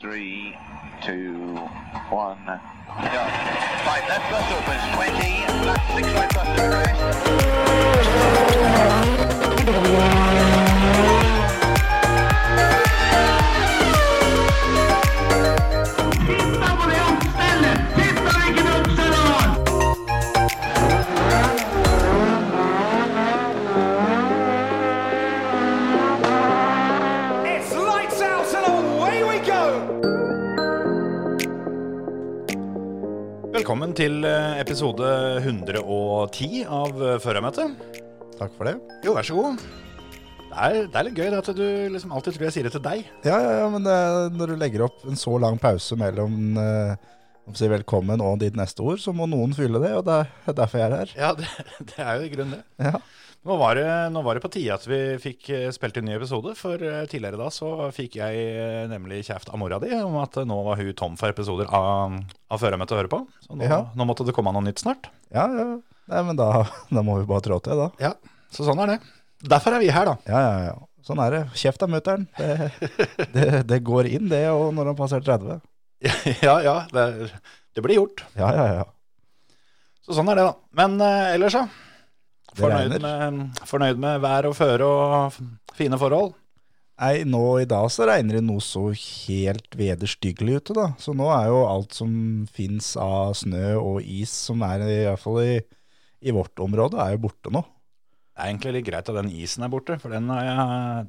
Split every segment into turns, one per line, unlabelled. Three, two, one, go. Right, left bus opens 20, left six right bus to arrest.
It's lights out and away we go!
Velkommen til eh, episode 110 av eh, Førermøtet.
Takk for det.
Jo, vær så god. Det er, det er litt gøy det at du liksom alltid tror jeg sier det til deg.
Ja, ja, ja, men det, er- når du legger opp en så lang pause mellom eh, å si velkommen og ditt neste ord, så må noen fylle det, og det er derfor jeg er her.
Ja, det, det er jo i grunnen det.
Ja.
Nå var det, nå var det på tide at vi fikk eh, spilt inn ny episode, for eh, tidligere da så fikk jeg eh, nemlig kjeft av mora di om at eh, nå var hun tom for episoder av, av Førermøtet å høre på. Så nå,
Ja.
nå måtte det komme noe nytt snart.
Ja, ja. Nei, men da, da må vi bare trå til, da.
Ja, så sånn er det. Derfor er vi her, da.
Ja, ja, ja. Sånn er det. Kjeft av mutter'n. Det, det, det går inn, det, og når han passerer 30.
ja, ja. Det, er- det blir gjort.
Ja, ja, ja.
Så sånn er det, da. Men eh, ellers, ja.
Det
Fornøyd
regner.
med, fornøyd med vær og føre og f- fine forhold.
Nei, nå i dag så regner det noe så helt vederstyggelig ute, da. Så nå er jo alt som fins av snø og is, som er i hvert fall i, i vårt område, er jo borte nå.
Det er egentlig litt greit at den isen er borte, for den har jeg,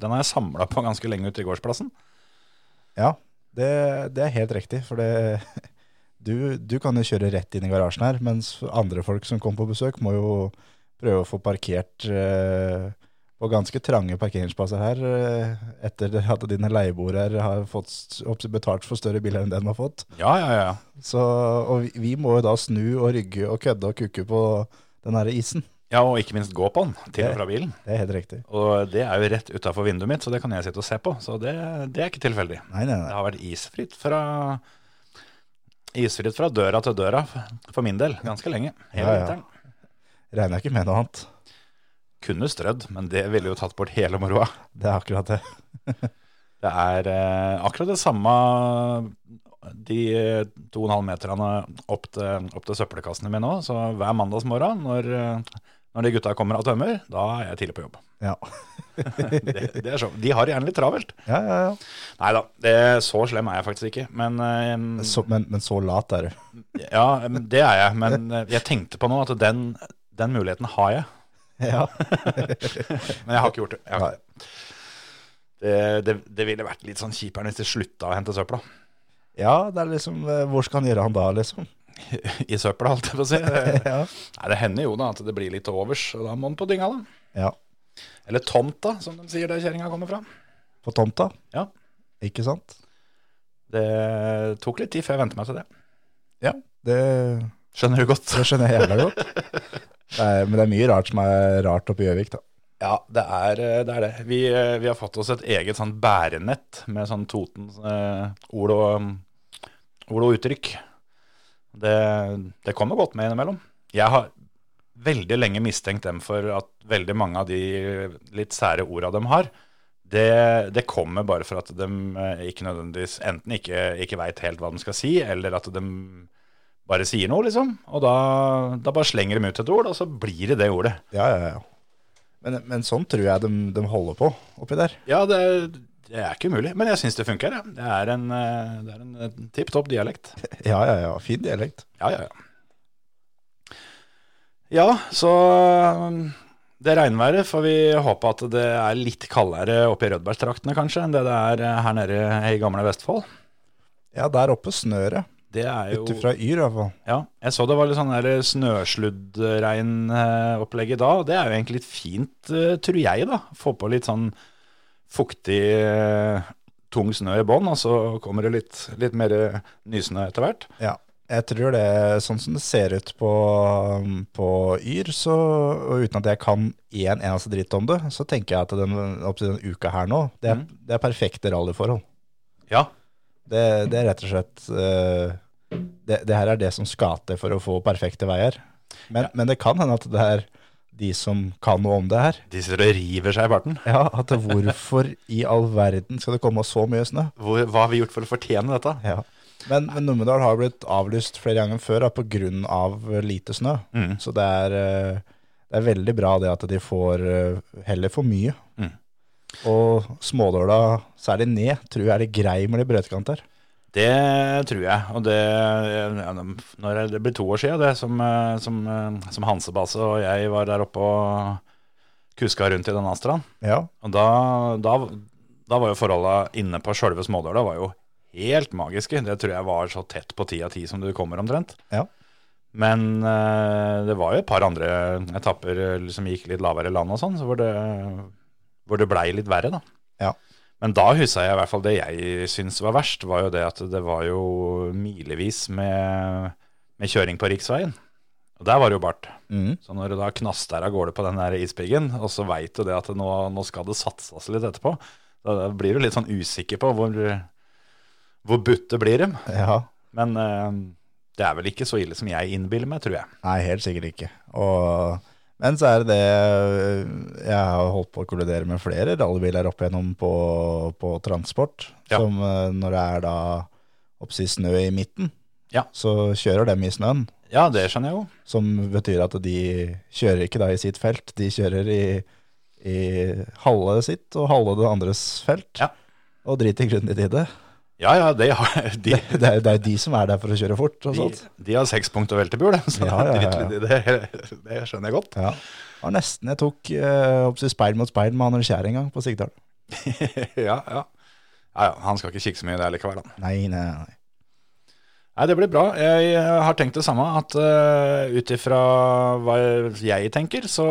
den har jeg samla på ganske lenge ute i gårdsplassen.
Ja, det, det er helt riktig. For det, du, du kan jo kjøre rett inn i garasjen her, mens andre folk som kommer på besøk, må jo prøve å få parkert eh, på ganske trange parkeringsplasser her, eh, etter det at dine leieboere her har fått, s- opp- betalt for større biler enn det de har fått.
Ja, ja, ja.
Så, og vi, vi må jo da snu og rygge og kødde og kukke på den her isen.
Ja, Og ikke minst gå på den, til og fra bilen.
Det er helt riktig.
Og det er jo rett utafor vinduet mitt, så det kan jeg sitte og se på. Så det, det er ikke tilfeldig.
Nei, nei,
Det
nei.
har vært isfritt fra, isfritt fra døra til døra, for min del, ganske lenge. Hele
Ja, ja.
vinteren.
Regner jeg ikke med noe annet.
Kunne strødd, men det ville jo tatt bort hele moroa.
Det er akkurat det.
Det er eh, akkurat det samme de eh, to og en halv meterne opp til, opp til søppelkassene mine nå. Så hver mandagsmorgen når, eh, når de gutta kommer og tømmer, da er jeg tidlig på jobb.
Ja,
Det, det er så. De har det gjerne litt travelt.
ja, ja. ja.
Nei da, så slem er jeg faktisk ikke. Men eh,
Så, men, men så lat er du.
ja, det er jeg. Men eh, jeg tenkte på nå at den, den muligheten har jeg.
Ja.
Men jeg har ikke gjort det. Jeg har
Nei.
ikke. Det, det, det ville vært litt sånn kjipere hvis de slutta å hente søpla.
Ja, det er liksom eh, Hvor skal han gjøre han da, liksom?
I søpla, holdt jeg på å si.
Ja.
Nei, Det hender jo da at det blir litt til overs, og da må den på dynga, da.
ja.
Eller tomta, som de sier der kjerringa kommer fra.
På tomta,
Ja.
ikke sant?
Det tok litt tid før jeg vente meg til det.
Ja. Det,
Skjønner du godt.
det skjønner jeg jævla godt. Nei, men det er mye rart som er rart oppe i Gjøvik, da.
Ja, det er eh, det. Er det. Vi, eh, vi har fått oss et eget sånn bærenett med sånn Totens eh, ord, og, ord og uttrykk. Det, det kommer godt med innimellom. Jeg har veldig lenge mistenkt dem for at veldig mange av de litt sære orda de har, det, det kommer bare for at de eh, ikke nødvendigvis enten ikke, ikke veit helt hva de skal si, eller at de bare sier noe, liksom. Og da, da bare slenger de ut et ord, og så blir det det ordet.
Ja, ja, ja. Men, men sånn tror jeg de, de holder på oppi der.
Ja, det, det er ikke umulig, men jeg syns det funker. Ja. Det er en, eh, det er en eh, tipp topp dialekt.
Ja, ja, ja. Fin dialekt.
Ja, ja, ja. Ja, så um, det regnværet får vi håpe at det er litt kaldere oppe i Rødbergstraktene kanskje enn det det er eh, her nede i gamle Vestfold.
Ja, der oppe snør det.
Det er jo
Ut ifra Yr, i hvert fall.
Ja, jeg så det var litt sånn der snøsluddregnopplegg i dag. og Det er jo egentlig litt fint, eh, tror jeg, da. Få på litt sånn fuktig, eh, tung snø i bånn, og så kommer det litt, litt mer eh, nysnø etter hvert.
Ja. Jeg tror det, sånn som det ser ut på, på Yr, så, og uten at jeg kan én eneste dritt om det, så tenker jeg at den, opp til denne uka her nå, det er,
Mm.
det er perfekte rallyforhold.
Ja.
Det, det er rett og slett eh, det, det her er det som skal til for å få perfekte veier. Men, men det kan hende at det er de som kan noe om det her.
De sitter og river seg i barten.
Ja, at hvorfor i all verden skal det komme så mye snø?
Hvor, hva har vi gjort for å fortjene dette?
Ja. Men, men Numedal har blitt avlyst flere ganger før da, på grunn av lite snø.
Mm.
Så det er, eh, det er veldig bra det at de får eh, heller for mye.
Mm.
Og smådåla, særlig ned, tror jeg er litt grei med de brøytekanter.
Det tror jeg. Og det, ja, når det- det blir to år siden det, som, eh, som, eh, som Hansebase og jeg var der oppe og kuska rundt i den Astraen.
Ja,
Og da, da, da var jo forholda inne på sjølve Smådøla var jo helt magiske. Det tror jeg var så tett på ti av ti som du kommer omtrent.
Ja.
Men eh, det var jo et par andre etapper eh, som gikk litt lavere land og sånn, så hvor det, hvor det blei litt verre, da.
Ja.
Men da huska jeg i hvert fall det jeg syns var verst, var jo det at det var jo milevis med, med kjøring på riksveien. Og der var det jo bart.
Mhm.
Så når du da knaster av gårde på den der ispiggen, og så veit du det at nå, nå skal det satses litt etterpå, da da blir du litt sånn usikker på hvor, hvor butte blir dem.
ja.
Men eh, det er vel ikke så ille som jeg innbiller meg, tror jeg.
Nei, helt sikkert ikke. Og, men så er det det Jeg har holdt på å kollidere med flere rallybiler opp igjennom på, på transport.
Ja.
Som eh, når det er da oppsi snø i midten,
Ja.
så kjører dem i snøen.
Ja, det skjønner jeg jo.
Som betyr at de kjører ikke da i sitt felt, de kjører i, i halve sitt og halve det andres felt.
Ja.
Og driter grundig i det.
Ja ja, det har, de,
Det, det er jo det er jo de som er der for å kjøre fort. og
de,
sånt.
de har seks punkt og veltebul, så
Ja, ja, ja, ja.
drit litt i det, det skjønner jeg godt.
Ja. Det var nesten jeg tok eh, opp til speil mot speil med Anders Kjær en gang på Sigdal.
ja, ja. ja, ja. Han skal ikke kikke så mye der likevel, han.
Nei, nei, nei.
Nei, det blir bra. Jeg eh, har tenkt det samme, at uh, ut ifra hva jeg tenker, så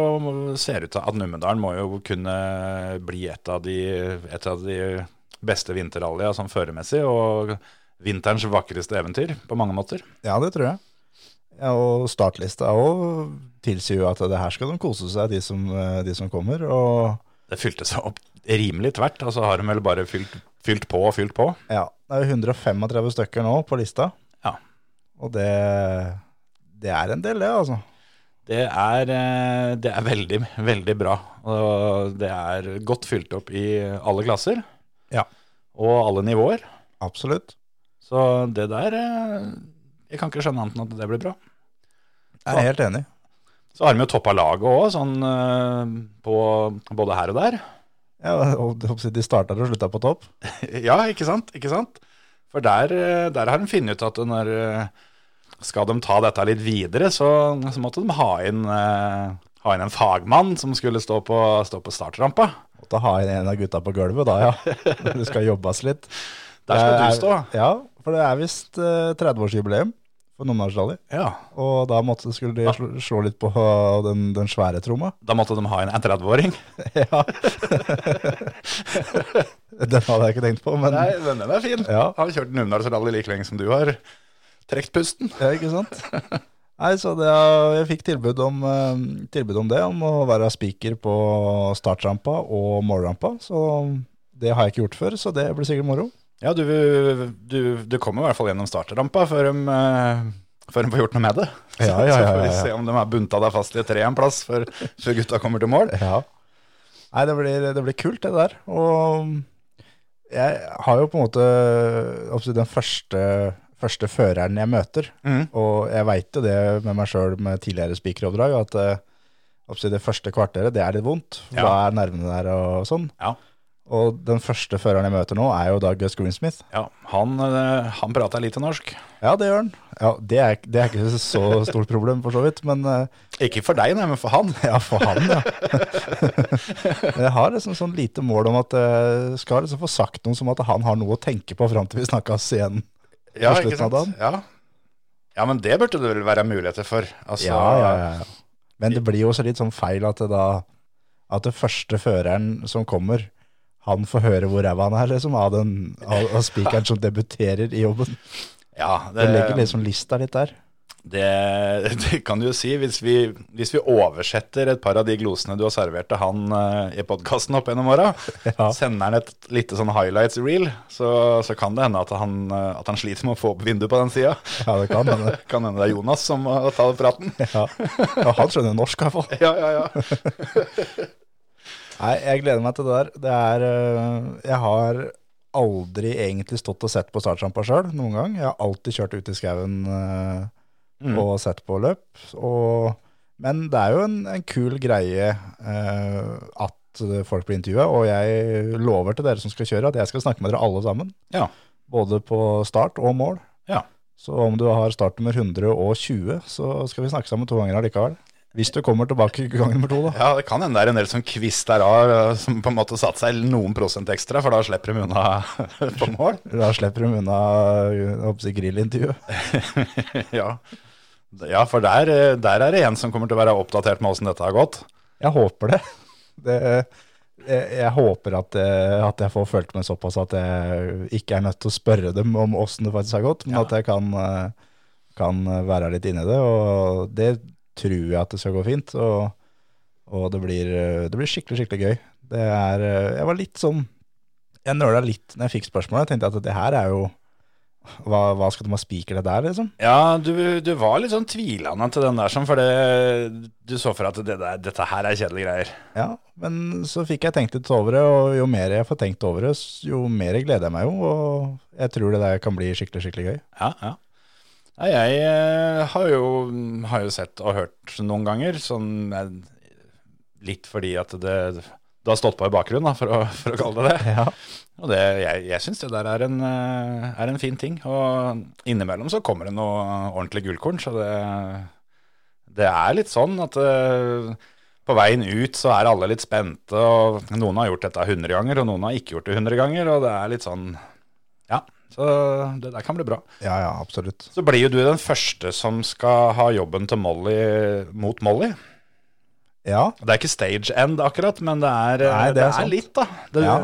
ser det ut til at Numedalen må jo kunne bli et av de, et av de beste vinterrallya sånn føremessig, og vinterens vakreste eventyr på mange måter.
Ja, det tror jeg. Ja, og startlista òg tilsier jo at det her skal de kose seg, de som, eh, de som kommer. Og
Det fylte seg opp rimelig tvert, altså har de vel bare fylt, fylt på og fylt på.
ja, det er jo 135 stykker nå på lista.
Ja.
Og det, det er en del, det, altså.
Det er, eh, det er veldig, veldig bra. Og det er godt fylt opp i alle klasser.
Ja.
Og alle nivåer.
Absolutt.
Så det der eh, Jeg kan ikke skjønne annet enn at det blir bra.
Jeg er helt enig.
Så har de jo toppa laget òg, sånn eh, på både her og der.
Ja, og det- De starta og slutta på topp.
ja, ikke sant? Ikke sant? For der, eh, der har de funnet ut at når eh, skal de ta dette litt videre, så, så måtte de ha inn, eh, ha inn en fagmann som skulle stå på, stå på startrampa.
Måtte ha inn en av gutta på gulvet da, ja. Når det skal jobbes litt.
Der skal
Det
du
er-
stå.
Ja, for det er visst eh, 30-årsjubileum for Numedalsrally.
Ja.
Og da måtte, skulle de slå, slå litt på eh, den, den svære tromma.
Da måtte de ha inn en 30-åring.
ja. den hadde jeg ikke tenkt på, men
Nei, den den er fin.
Ja.
Har kjørt Numedalsrally like lenge som du har. Trekt pusten.
ja, ikke sant? Nei, så det, er- jeg fikk tilbud om, eh, tilbud om det, om å være speaker på startrampa og målrampa. Så det har jeg ikke gjort før, så det blir sikkert moro.
Ja, du, du, du kommer i hvert fall gjennom startrampa før de, eh, før de får gjort noe med det. Så-
Ja, ja,
Så
ja,
får vi
ja, ja.
se om de har bunta deg fast i et tre en plass før, før gutta kommer til mål.
Ja. Nei, det blir, det blir kult det der. Og jeg har jo på en måte absolutt den første, første føreren jeg møter.
Mhm.
Og jeg veit jo det med meg sjøl med tidligere spikeroppdrag, at eh, absolutt det første kvarteret, det er litt vondt. For
Ja.
da er nervene der og sånn.
Ja.
Og den første føreren jeg møter nå, er jo da Gus Greensmith.
Ja, han, eh, han prata lite norsk.
Ja, det gjør han. Ja, det, er, det er ikke så stort problem, for så vidt. Men eh,
Ikke for deg, nei, men for han.
Ja, for han, ja. Men jeg har liksom sånn lite mål om at jeg skal liksom få sagt noe som at han har noe å tenke på fram til vi snakkes igjen.
Ja,
På slutten
ikke sant?
av dagen.
Ja. ja, men det burde det vel være muligheter for. Altså,
Men det blir jo også litt sånn feil at det da At det første føreren som kommer, han får høre hvor ræva han er, liksom, av, den, av, av spikeren som debuterer i jobben.
ja, det,
Det legger liksom lista litt der.
Det, det kan du jo si. Hvis vi, hvis vi oversetter et par av de glosene du har servert til han eh, i podkasten opp gjennom åra,
Ja.
sender han et lite sånn highlights reel, så, så kan det hende at han, eh, at han sliter med å få opp vinduet på den sida.
Ja, det kan hende.
kan hende det er Jonas som må ta praten.
Ja. ja, han skjønner jo norsk i hvert fall.
ja, ja, ja.
Nei, jeg gleder meg til det der. Det er, øh, jeg har aldri egentlig stått og sett på startrampa sjøl noen gang. Jeg har alltid kjørt ut i skauen øh,
Mm.
og sett på løp. Og, men det er jo en, en kul greie øh, at folk blir intervjua, og jeg lover til dere som skal kjøre at jeg skal snakke med dere alle sammen.
Ja.
Både på start og mål.
Ja.
Så om du har startnummer 120, så skal vi snakke sammen to ganger allikevel. Hvis du kommer tilbake gang nummer to, da.
Ja, det kan hende det er en del som kvister av, eh, som på en måte satte seg noen prosent ekstra, for da slipper de unna på mål.
Da slipper de unna jeg håper å si, grillintervjuet.
ja. ja, for der, eh, der er det en som kommer til å være oppdatert med åssen dette har gått.
Jeg håper det. det jeg, jeg håper at, jeg- at jeg får følt meg såpass at jeg ikke er nødt til å spørre dem om åssen det faktisk har gått, men
Ja.
at jeg kan, eh, kan eh, være litt inni det. Og det tror jeg at det skal gå fint. Og, og det, blir, eh, det blir skikkelig, skikkelig gøy. Det er eh, Jeg var litt sånn Jeg nøla litt når jeg fikk spørsmålet. Jeg tenkte at det her er jo Hva, hva skal de ha spiker det der, liksom?
Ja, du, du var litt sånn tvilende til den der, sånn, for det, du så for deg at det der, dette her er kjedelige greier.
Ja, men så fikk jeg tenkt litt over det, og jo mer jeg får tenkt over det, s- jo mer gleder jeg meg jo, og jeg tror det der kan bli skikkelig, skikkelig gøy.
Ja, ja. Nei, jeg eh, har jo, har jo sett og hørt noen ganger, sånn eh, litt fordi at det, det har stått på i bakgrunnen, da, for, å, for å kalle det det.
Ja,
Og det, jeg, jeg syns det der er en, eh, er en fin ting. Og innimellom så kommer det noe ordentlig gullkorn, så det, det er litt sånn at eh, på veien ut så er alle litt spente, og noen har gjort dette 100 ganger, og noen har ikke gjort det 100 ganger, og det er litt sånn Ja, så det der kan bli bra.
ja, ja absolutt.
Så blir jo du den første som skal ha jobben til Molly mot Molly.
Ja,
Det er ikke stage end akkurat, men det er, eh,
Nei, det er
det er,
sant.
litt, da. Det,
Ja.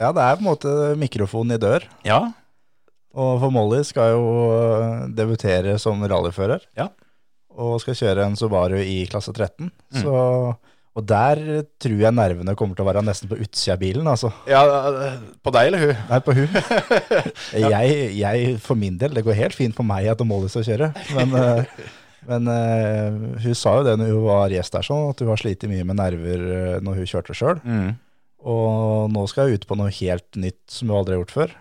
ja, det er på en måte mikrofonen i dør,
ja.
og for Molly skal jo øh, debutere som rallyfører.
Ja.
Og skal kjøre en Subaru i klasse 13, så... Og der tror jeg nervene kommer til å være nesten på utsida av bilen, altså.
Ja, på deg eller hun?
Nei, på hun. jeg, jeg, for min del, det går helt fint for meg at Molly skal kjøre. Men, eh, men eh, hun sa jo det når hun var gjest der, sånn, at hun har slitt mye med nerver eh, når hun kjørte sjøl. Og nå skal hun ut på noe helt nytt som hun aldri har gjort før.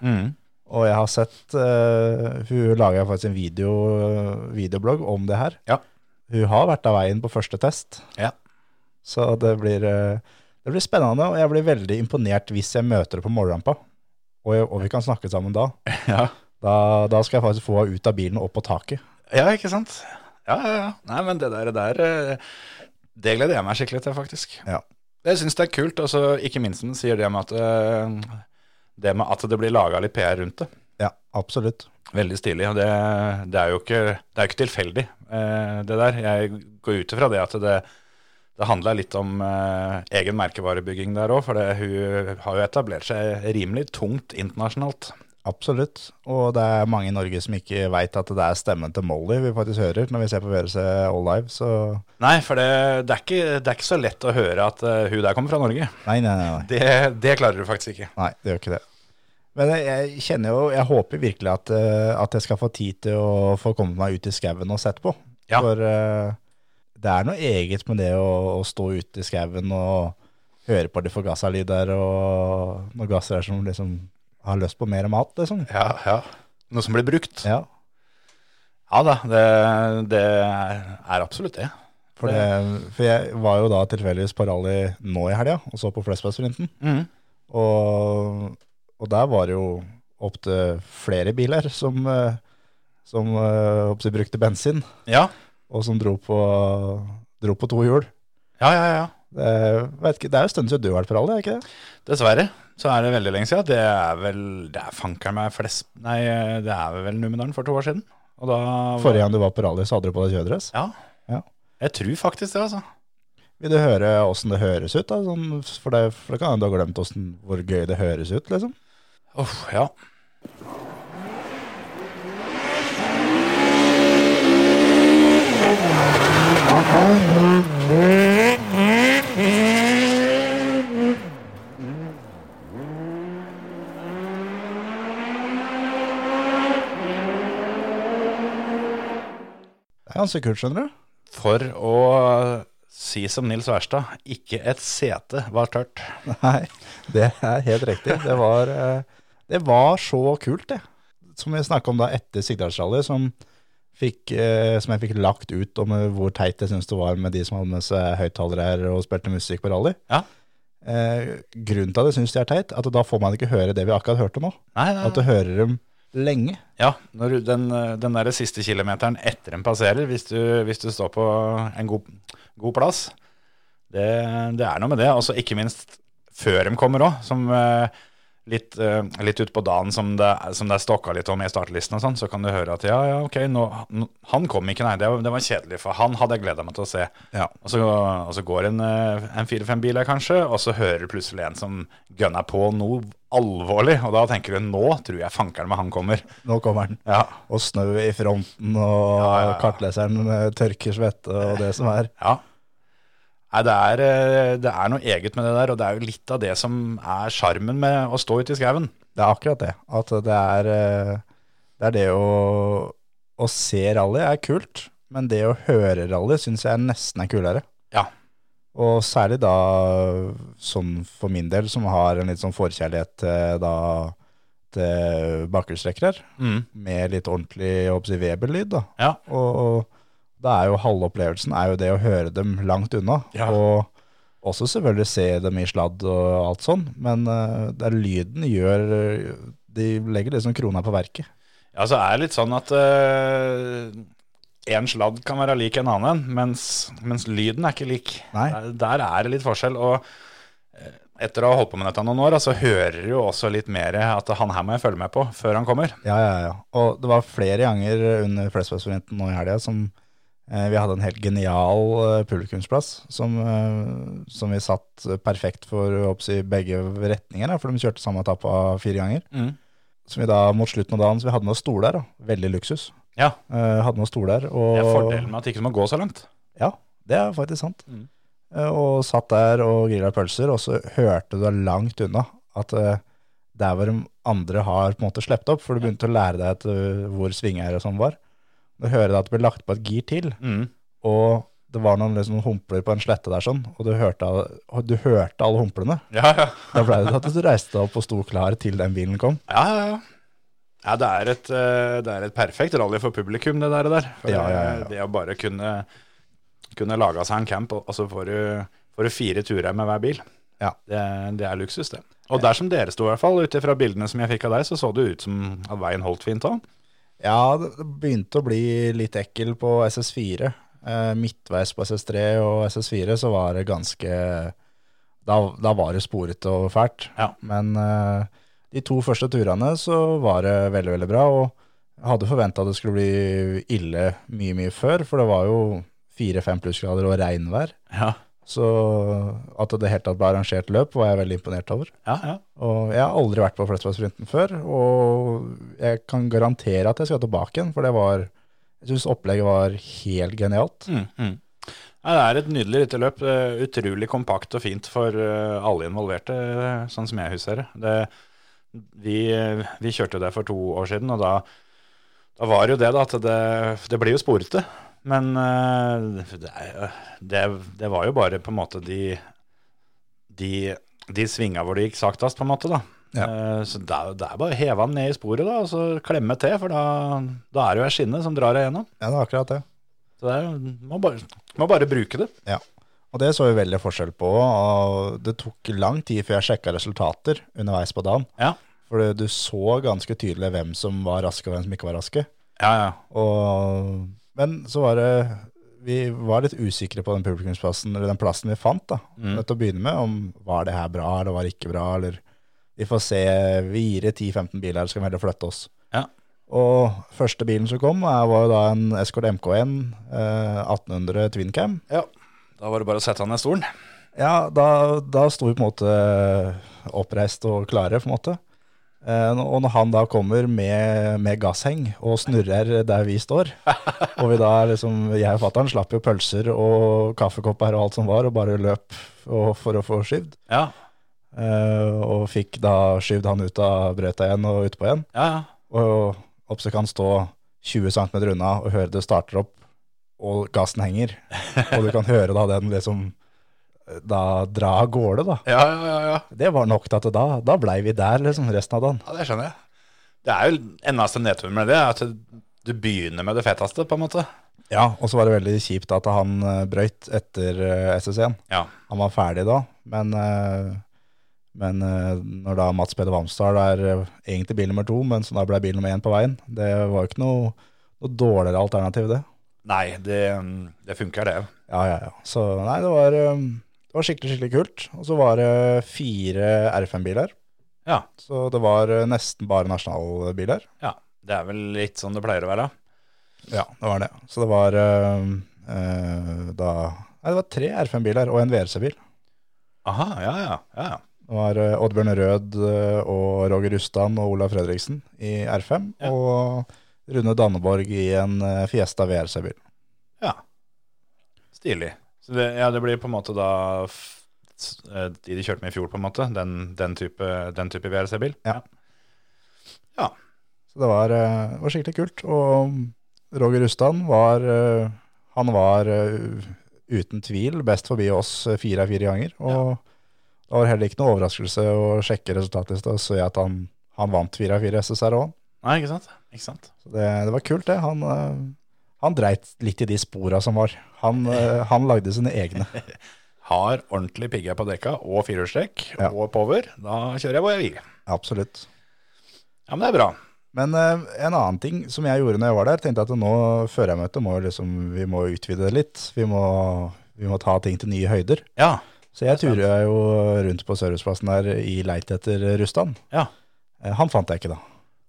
Og jeg har sett eh, Hun laga faktisk en video, videoblogg om det her.
Ja.
Hun har vært av veien på første test.
Ja.
Så det blir, eh, det blir spennende, og jeg blir veldig imponert hvis jeg møter henne på morgenrampa. Og, jeg- og vi kan snakke sammen da.
ja.
Da, da skal jeg faktisk få henne ut av bilen og opp på taket.
Ja, ikke sant? Ja, ja, ja. Nei, men det der, det der eh, Det gleder jeg meg skikkelig til, faktisk.
Ja.
Jeg syns det er kult, altså, ikke minst når du sier det med at eh, det, med at det blir laga litt PR rundt det.
Ja, absolutt.
Veldig stilig. og Det, det er jo ikke, det er jo ikke tilfeldig, eh, det der. Jeg går ut ifra det at det, det handla litt om eh, egen merkevarebygging der òg, for det, hun har jo etablert seg rimelig tungt internasjonalt.
Absolutt. Og det er mange i Norge som ikke veit at det er stemmen til Molly vi faktisk hører når vi ser på VRC All Live, så
Nei, for det, det, er ikke, det er ikke så lett å høre at eh, hun der kommer fra Norge.
Nei, nei, nei. nei.
Det, det klarer du faktisk ikke.
Nei, det gjør ikke det. Men jeg- jeg kjenner jo, jeg håper virkelig at, eh, at jeg skal få tid til å få komme meg ut i skauen og sett på.
Ja.
For eh, det er noe eget med det å, å stå ute i skauen og høre på de forgassa lyder og noen gasser her som liksom har lyst på mer mat, liksom.
Ja, ja. Noe som blir brukt.
Ja,
Ja da, det, det er absolutt det.
for, det, for jeg var jo da tilfeldigvis på rally nå i helga og så på Flesbergsprinten.
Mhm.
Og, og der var det jo opptil flere biler som, eh, som eh, opp til brukte bensin,
Ja,
og som dro på, dro på to hjul.
ja, ja. ja.
Det, er- vet ikke, det er jo en stund siden du har vært på rally, er det ikke det?
Dessverre så er det veldig lenge siden. Det er vel Det er fankeren meg flest Nei, det er vel Numedalen for to år siden. Og da var-
Forrige gang du var på rally, så hadde du på deg kjøredress.
Ja.
Ja.
Jeg tror faktisk det, altså.
Vil du høre åssen det høres ut? Da? Sånn, for, det, for det kan hende du har glemt hvordan, hvor gøy det høres ut, liksom.
Uff, ja.
Thank
Det er ganske kult, skjønner du.
For å si som Nils Wærstad, ikke et sete var tørt.
Nei, det er helt riktig. Det var, eh, det var så kult, det. Som vi snakka om da etter Sigdalsrally, som, fikk, eh, som jeg fikk lagt ut om eh, hvor teit jeg syntes det var med de som hadde med seg høyttalere her og spilte musikk på rally.
Ja.
Eh, grunnen til at jeg syns det er teit, at da får man ikke høre det vi akkurat hørte nå.
Nei,
At du hører dem lenge.
Ja, når du- den, den der siste kilometeren etter en passerer, hvis du, hvis du står på en god, god plass, det, det er noe med det. Og så ikke minst før de kommer òg, som eh, litt, eh, litt utpå dagen som det, som det er stokka litt om i startlisten og sånn, så kan du høre at ja, ja, ok, nå, nå- han kom ikke, nei, det, var- det var kjedelig, for han hadde jeg gleda meg til å se.
Ja.
Og, så, og så går en, eh, en fire-fem biler kanskje, og så hører du plutselig en som gønner på noe alvorlig, og da tenker du nå tror jeg fankeren med han kommer.
Nå kommer den.
Ja,
Og snø i fronten, og
Ja, ja, ja.
kartleseren eh, tørker svette, og det som er.
Ja. Nei, det er, eh, det er noe eget med det der, og det er jo litt av det som er sjarmen med å stå ute i skauen.
Det er akkurat det. At det er eh, det, er det å, å se rally er kult, men det å høre rally syns jeg nesten er kulere.
Ja.
Og særlig da sånn for min del, som har en litt sånn forkjærlighet til da til bakhjulstrekkere
Mm.
med litt ordentlig jeg håper å si, Weber-lyd. da.
Ja.
Og, og da er jo halve opplevelsen er jo det å høre dem langt unna.
Ja.
Og også selvfølgelig se dem i sladd og alt sånn, men eh, det er lyden gjør eh, De legger liksom krona på verket.
Ja, så er det litt sånn at eh, en sladd kan være lik en annen, mens, mens lyden er ikke lik.
Nei.
Der, der er det litt forskjell, og eh, etter å ha holdt på med dette noen år, da, så hører du jo også litt mer at han her må jeg følge med på før han kommer.
Ja, ja, ja. Og det var flere ganger under Flesbergsforenten eh, nå i helga som eh, vi hadde en helt genial eh, publikumsplass som, eh, som vi satt perfekt for jeg håper å si, begge retninger, da, for de kjørte samme etappa fire ganger.
Mm.
som vi da mot slutten av dagen, så vi hadde med oss stoler. da, Veldig luksus.
Ja,
Eh, hadde med oss stoler. Og,
det er fordelen med at det ikke må gå så langt.
Ja, det er faktisk sant.
Mm.
Eh, og satt der og grilla pølser, og så hørte du langt unna at eh, der hvor de andre har på en måte sluppet opp, for du begynte å lære deg at, eh, hvor svinga er og sånn var. Du hører at det ble lagt på et gir til,
Mm.
og det var noen liksom, humpler på en slette der sånn, og du hørte, og du hørte alle humplene.
Ja, ja.
Da ble det til at du reiste deg opp og sto klar til den bilen kom.
Ja, ja, ja. ja det, er et, eh, det er et perfekt rally for publikum, det der. Det, der. For,
Ja, ja, ja, ja.
eh, det å bare kunne, kunne lage seg en camp, og og så får du, får du fire turer med hver bil.
Ja.
Det, det er luksus, det. Og der som dere sto, i hvert fall, ut ifra bildene som jeg fikk av deg, så så det ut som at veien holdt fint òg.
Ja, det det begynte å bli litt ekkel på SS4. Eh, midtveis på SS3 og SS4 så var det ganske Da, da var det sporete og fælt.
Ja.
Men eh, de to første turene så var det veldig, veldig bra. Og jeg hadde forventa det skulle bli ille mye, mye før, for det var jo fire-fem plussgrader og regnvær.
Ja.
Så at det helt tatt ble arrangert løp, var jeg veldig imponert over.
Ja, ja.
Og jeg har aldri vært på Flesbergsfronten før, og jeg kan garantere at jeg skal tilbake igjen, for det var Jeg syns opplegget var helt genialt.
Mm, mm. Nei, det er et nydelig lite løp. Det er Utrolig kompakt og fint for eh, alle involverte, eh, sånn som jeg husker det. det. Vi, eh, vi kjørte det for to år siden, og da, da var det jo det da, at det, det blir jo sporete. Men eh, det, er- det, det var jo bare på en måte de, de, de svinga hvor det gikk saktest, på en måte. da.
Ja.
Eh, Så det er, det er bare å heve den ned i sporet da, og så klemme til, for da, da er det jo ei skinne som drar deg gjennom.
Ja, det er akkurat det.
Så det er, jo- må, bare, må bare bruke det.
Og det så vi veldig forskjell på. og Det tok lang tid før jeg sjekka resultater underveis på dagen.
Ja.
For du så ganske tydelig hvem som var raske, og hvem som ikke var raske.
Ja, ja.
Og, men så var det Vi var litt usikre på den publikumsplassen, eller den plassen vi fant, da.
Mm.
til å begynne med, om var det her bra, eller var det ikke bra, eller vi får se, vi gir det 10-15 biler, så skal vi heller flytte oss.
Ja.
Og første bilen som kom, eh, var jo da en Escort MK1 eh, 1800 Twin Cam.
Da var det bare å sette han i stolen.
Ja, da, da sto vi på en måte eh, oppreist og klare, på en måte. Eh, Og når han da kommer med, med gassheng og snurrer der vi står, og vi da liksom, jeg og fatter'n slapp jo pølser og kaffekopper og alt som var, og bare løp og, for å få skyvd.
Ja,
Eh, og fikk da skyvd han ut av brøyta igjen og utpå igjen.
ja, ja.
Og oppså kan stå 20 cm unna og høre det starter opp og gassen henger. Og du kan høre da den liksom da dra av gårde, da.
Ja, ja, ja, ja.
Det var nok til at da, da blei vi der liksom resten av dagen.
Ja, det skjønner jeg. Det er jo eneste nedturen med det, er at du begynner med det feteste, på en måte.
Ja, og så var det veldig kjipt at han eh, brøyt etter eh, SSC-en.
Ja.
Han var ferdig da, men, eh, men eh, når da Mats Peder Vamsdal er eh, egentlig bil nummer to, men som da ble bil nummer én på veien, det var jo ikke noe, noe dårligere alternativ, det.
Nei, det, um, det funker, det.
Ja, ja, ja. Så nei, det var, eh, det var skikkelig, skikkelig kult. Og så var det fire R5-biler,
Ja.
så det var eh, nesten bare nasjonalbiler.
ja. Det er vel litt sånn det pleier å være.
Ja, det var det. Så det var eh, eh, da Nei, det var tre R5-biler og en VRC-bil.
Aha, ja, ja. ja. ja.
Det var eh, Oddbjørn Rød eh, og Roger Rustan og Olav Fredriksen i R5,
Ja.
og Rune Danneborg i en eh, Fiesta VRC-bil.
Ja. Stilig. Så det, ja, det blir på en måte da f- s- eh, de de kjørte med i fjor, på en måte. Den, den type, den type VRC-bil.
Ja.
Ja.
Så det var, eh, var skikkelig kult. Og Roger Rustan var eh, Han var eh, uten tvil best forbi oss eh, fire av fire ganger. Og det var heller ikke noe overraskelse å sjekke resultatlista og se at han, han vant fire av fire SSR òg.
Nei, ikke sant? Ikke sant?
Så det, det var kult, det. Han, eh, han dreit litt i de spora som var. Han, eh, han lagde sine egne.
Har ordentlig pigger på dekka og firehjulstrekk
Ja.
og power. Da kjører jeg hvor jeg vil.
Absolutt.
Ja, men det er bra.
Men eh, en annen ting som jeg gjorde når jeg var der, tenkte jeg at nå før jeg møtte, må jo liksom, vi må utvide det litt. Vi må, vi må ta ting til nye høyder.
Ja.
Så jeg turer jo rundt på serviceplassen der i leit etter Rustan.
Ja.
Eh, Han fant jeg ikke da.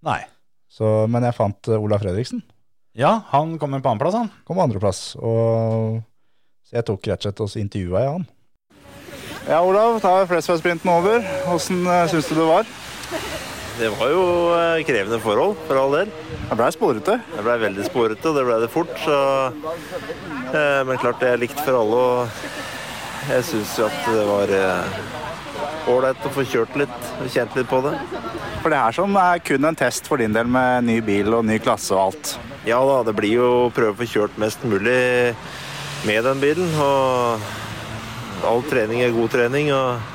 Nei.
Så, men jeg fant eh, Olav Fredriksen.
Ja, han kommer på annenplass, han.
Kom på andreplass. Og så jeg tok rett og slett og så intervjua jeg han. Ja, Olav, da er Flesvig-sprinten over. Åssen syns du det var?
Det var jo eh, krevende forhold, for all del.
Jeg blei sporete.
Det blei veldig sporete, og det blei det fort. Så, eh, men klart det er likt for alle. Og jeg syns jo at det var eh, ålreit å få kjørt litt og kjent litt på det.
For det her som er kun en test for din del med ny bil og ny klasse og alt.
Ja da, det blir jo å prøve å få kjørt mest mulig med den bilen. Og all trening er god trening. og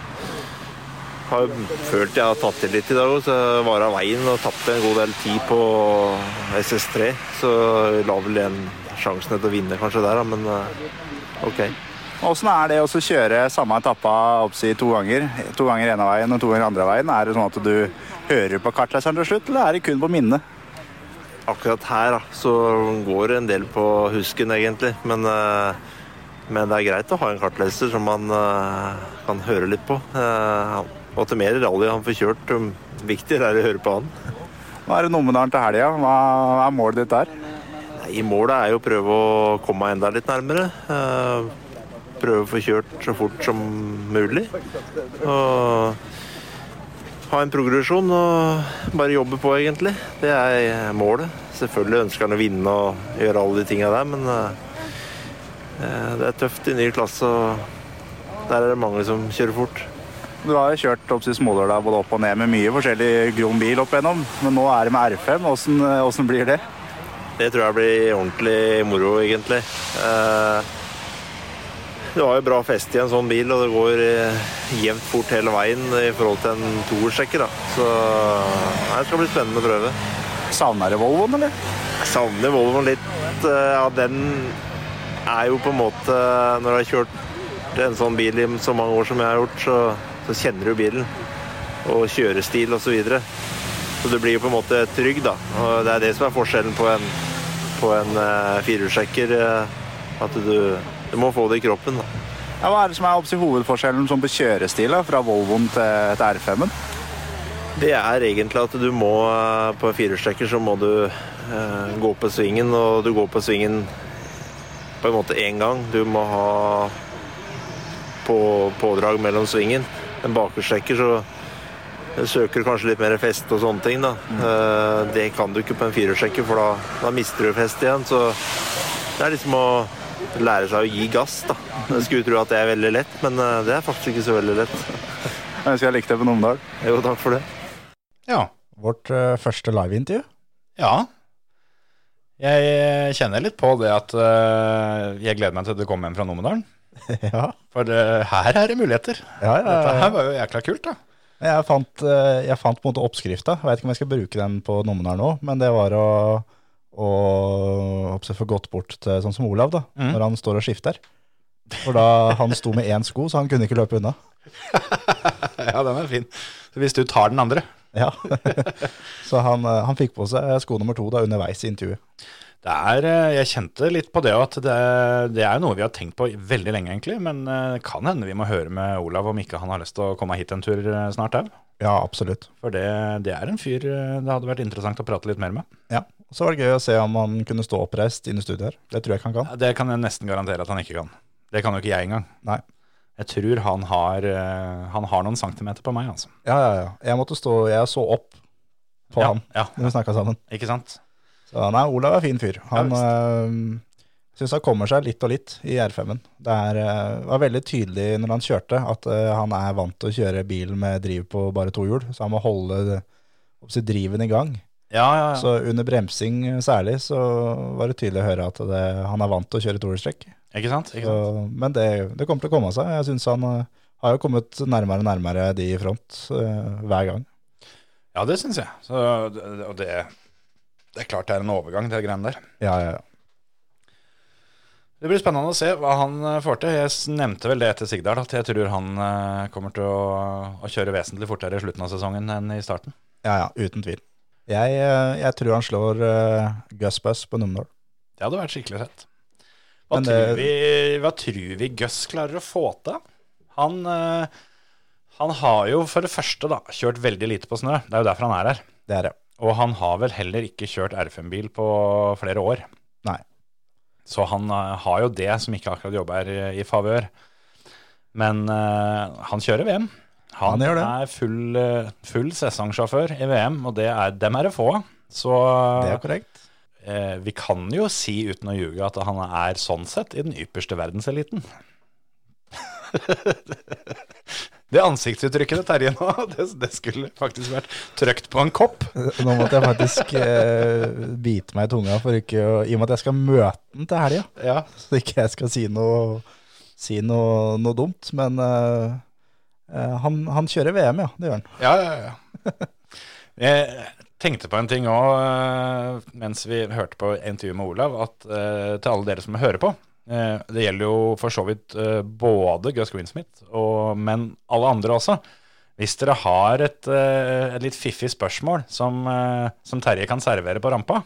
har jo følt jeg har tatt til litt i dag òg, så jeg var av veien og tapte en god del tid på SS3. Så la vel igjen sjansene til å vinne kanskje der, da, men eh, OK.
Åssen er det å så kjøre samme etappa oppsi to ganger? To ganger ene veien og to ganger andre veien. Er det sånn at du hører på kartleseren til slutt, eller er det kun på minnet?
Akkurat her da, så går det en del på husken, egentlig. Men, eh, men det er greit å ha en kartleser som man eh, kan høre litt på. Eh, Og til mer rally han får kjørt, um, viktigere er det å høre på han.
Nå er det Numedalen til helga. Hva eh, er målet ditt der?
Nei, målet er jo å prøve å komme meg enda litt nærmere. Eh, Prøve å få kjørt så fort som mulig. Og ha en progresjon og bare jobbe på, egentlig. Det er målet. Selvfølgelig ønsker han å vinne og gjøre alle de tinga der, men eh, eh, det er tøft i ny klasse. og Der er det mange som kjører fort.
Du har jo kjørt oppsi Smålårdal både opp og ned med mye forskjellig grom bil opp igjennom, men nå er det med R5. Åssen- Åssen blir det?
Det tror jeg blir ordentlig moro, egentlig. Eh, Du har jo bra fest i en sånn bil, og det går eh, jevnt fort hele veien i forhold til en toersjekker. da. Så eh, nei, det skal bli spennende prøve.
Savner du Volvoen, eller?
Jeg savner Volvoen litt. eh, Ja, den er jo på en måte Når du har kjørt en sånn bil i så mange år som jeg har gjort, så, så kjenner du bilen. Og kjørestil osv. Så, videre. så du blir jo på en måte trygg, da. Og det er det som er forskjellen på en, på en eh, firehjulstrekker. eh, At du, du må få det i kroppen. da.
Ja, hva er det som er oppsi hovedforskjellen sånn på kjørestil da, fra Volvoen til, til R5-en?
Det er egentlig at du må eh, på en firehjulstrekker så må du eh, gå på svingen, og du går på svingen på en måte én gang. Du må ha på, pådrag mellom svingen. En bakhjulstrekker så søker du kanskje litt mer fest og sånne ting, da. Eh, det kan du ikke på en firehjulstrekker, for da, da mister du fest igjen. Så det er liksom å lære seg å gi gass, da. Jeg skulle tro at det er veldig lett, men eh, det er faktisk ikke så veldig lett.
Jeg ønsker jeg likte det på Numedal.
Jo, takk for det.
Ja.
eh, Vårt eh, første liveintervju.
Ja. Jeg eh, kjenner litt på det at eh, jeg gleder meg til du kommer hjem fra Numedalen.
ja,
For eh, her er det muligheter.
ja, ja,
Dette
ja.
her var jo jækla kult, da.
Jeg fant, eh, jeg fant på en måte oppskrifta. Jeg vet ikke om jeg skal bruke den på nummen her nå, men det var å, å håper jeg, få gått bort til sånn som Olav, da,
Mm.
når han står og skifter. For da han sto med én sko, så han kunne ikke løpe unna.
Ja, den er fin. Så hvis du tar den andre
Ja. så han, eh, han fikk på seg sko nummer to da underveis i intervjuet.
det er, eh, Jeg kjente litt på det at det, det er jo noe vi har tenkt på veldig lenge, egentlig. Men eh, det kan hende vi må høre med Olav om ikke han har lyst til å komme hit en tur eh, snart òg.
Ja, absolutt.
For det, det er en fyr eh, det hadde vært interessant å prate litt mer med.
Ja. Så var det gøy å se om han kunne stå oppreist inne i studiet her. Det tror jeg ikke han kan.
Ja, Det kan jeg nesten garantere at han ikke kan. Det kan jo ikke jeg engang.
Nei.
Jeg tror han har, eh, han har noen centimeter på meg, altså.
Ja, ja, ja. Jeg måtte stå, jeg så opp på
ja,
han
ja,
når vi snakka sammen.
ikke sant?
Så nei, Olav er fin fyr. Han
Ja,
øh, syns han kommer seg litt og litt i R5-en. Det er, øh, var veldig tydelig når han kjørte at øh, han er vant til å kjøre bil med driv på bare to hjul, så han må holde øh, oppsi, driven i gang.
Ja, ja, ja.
Så under bremsing øh, særlig så var det tydelig å høre at det, han er vant til å kjøre tohjulstrekk.
Ikke sant? Ikke sant?
Så- Men det, det kommer til å komme seg. Jeg syns han øh, har jo kommet nærmere og nærmere de i front øh, hver gang.
Ja, det syns jeg. Så, det- og det, det er klart det er en overgang, det greiene der.
Ja, ja, ja.
Det blir spennende å se hva han eh, får til. Jeg s- nevnte vel det etter Sigdal, at jeg tror han eh, kommer til å, å kjøre vesentlig fortere i slutten av sesongen enn i starten.
Ja, ja, uten tvil. Jeg, eh, jeg tror han slår uh, Gus Buss på Numedal.
Det hadde vært skikkelig fett. Hva,
Men
tror,
det-
vi, hva tror vi Gus klarer å få til? Han, eh, han har jo for det første da, kjørt veldig lite på snø. Det er jo derfor han er her.
Det er det.
Og han har vel heller ikke kjørt R5-bil på flere år.
Nei.
Så han eh, har jo det som ikke akkurat jobber eh, i, i favør. Men eh, han kjører VM. Han,
Han gjør det.
er full, eh, full sesongsjåfør i VM, og det er, dem er det få av. Så
Det er korrekt.
eh, vi kan jo si uten å ljuge at han er sånn sett i den ypperste verdenseliten. det ansiktsuttrykket til Terje nå, det, det skulle faktisk vært trykt på en kopp.
Nå måtte jeg faktisk eh, bite meg i tunga, for ikke å, i og med at jeg skal møte den til helga.
Ja,
Så ikke jeg skal si noe, si noe, noe dumt. Men eh, eh, han, han kjører VM, ja. Det gjør han.
Ja, ja, ja. Jeg tenkte på en ting òg mens vi hørte på intervjuet med Olav, at eh, til alle dere som hører på eh, Det gjelder jo for så vidt eh, både Gus Greensmith, og, men alle andre også. Hvis dere har et, eh, et litt fiffig spørsmål som, eh, som Terje kan servere på rampa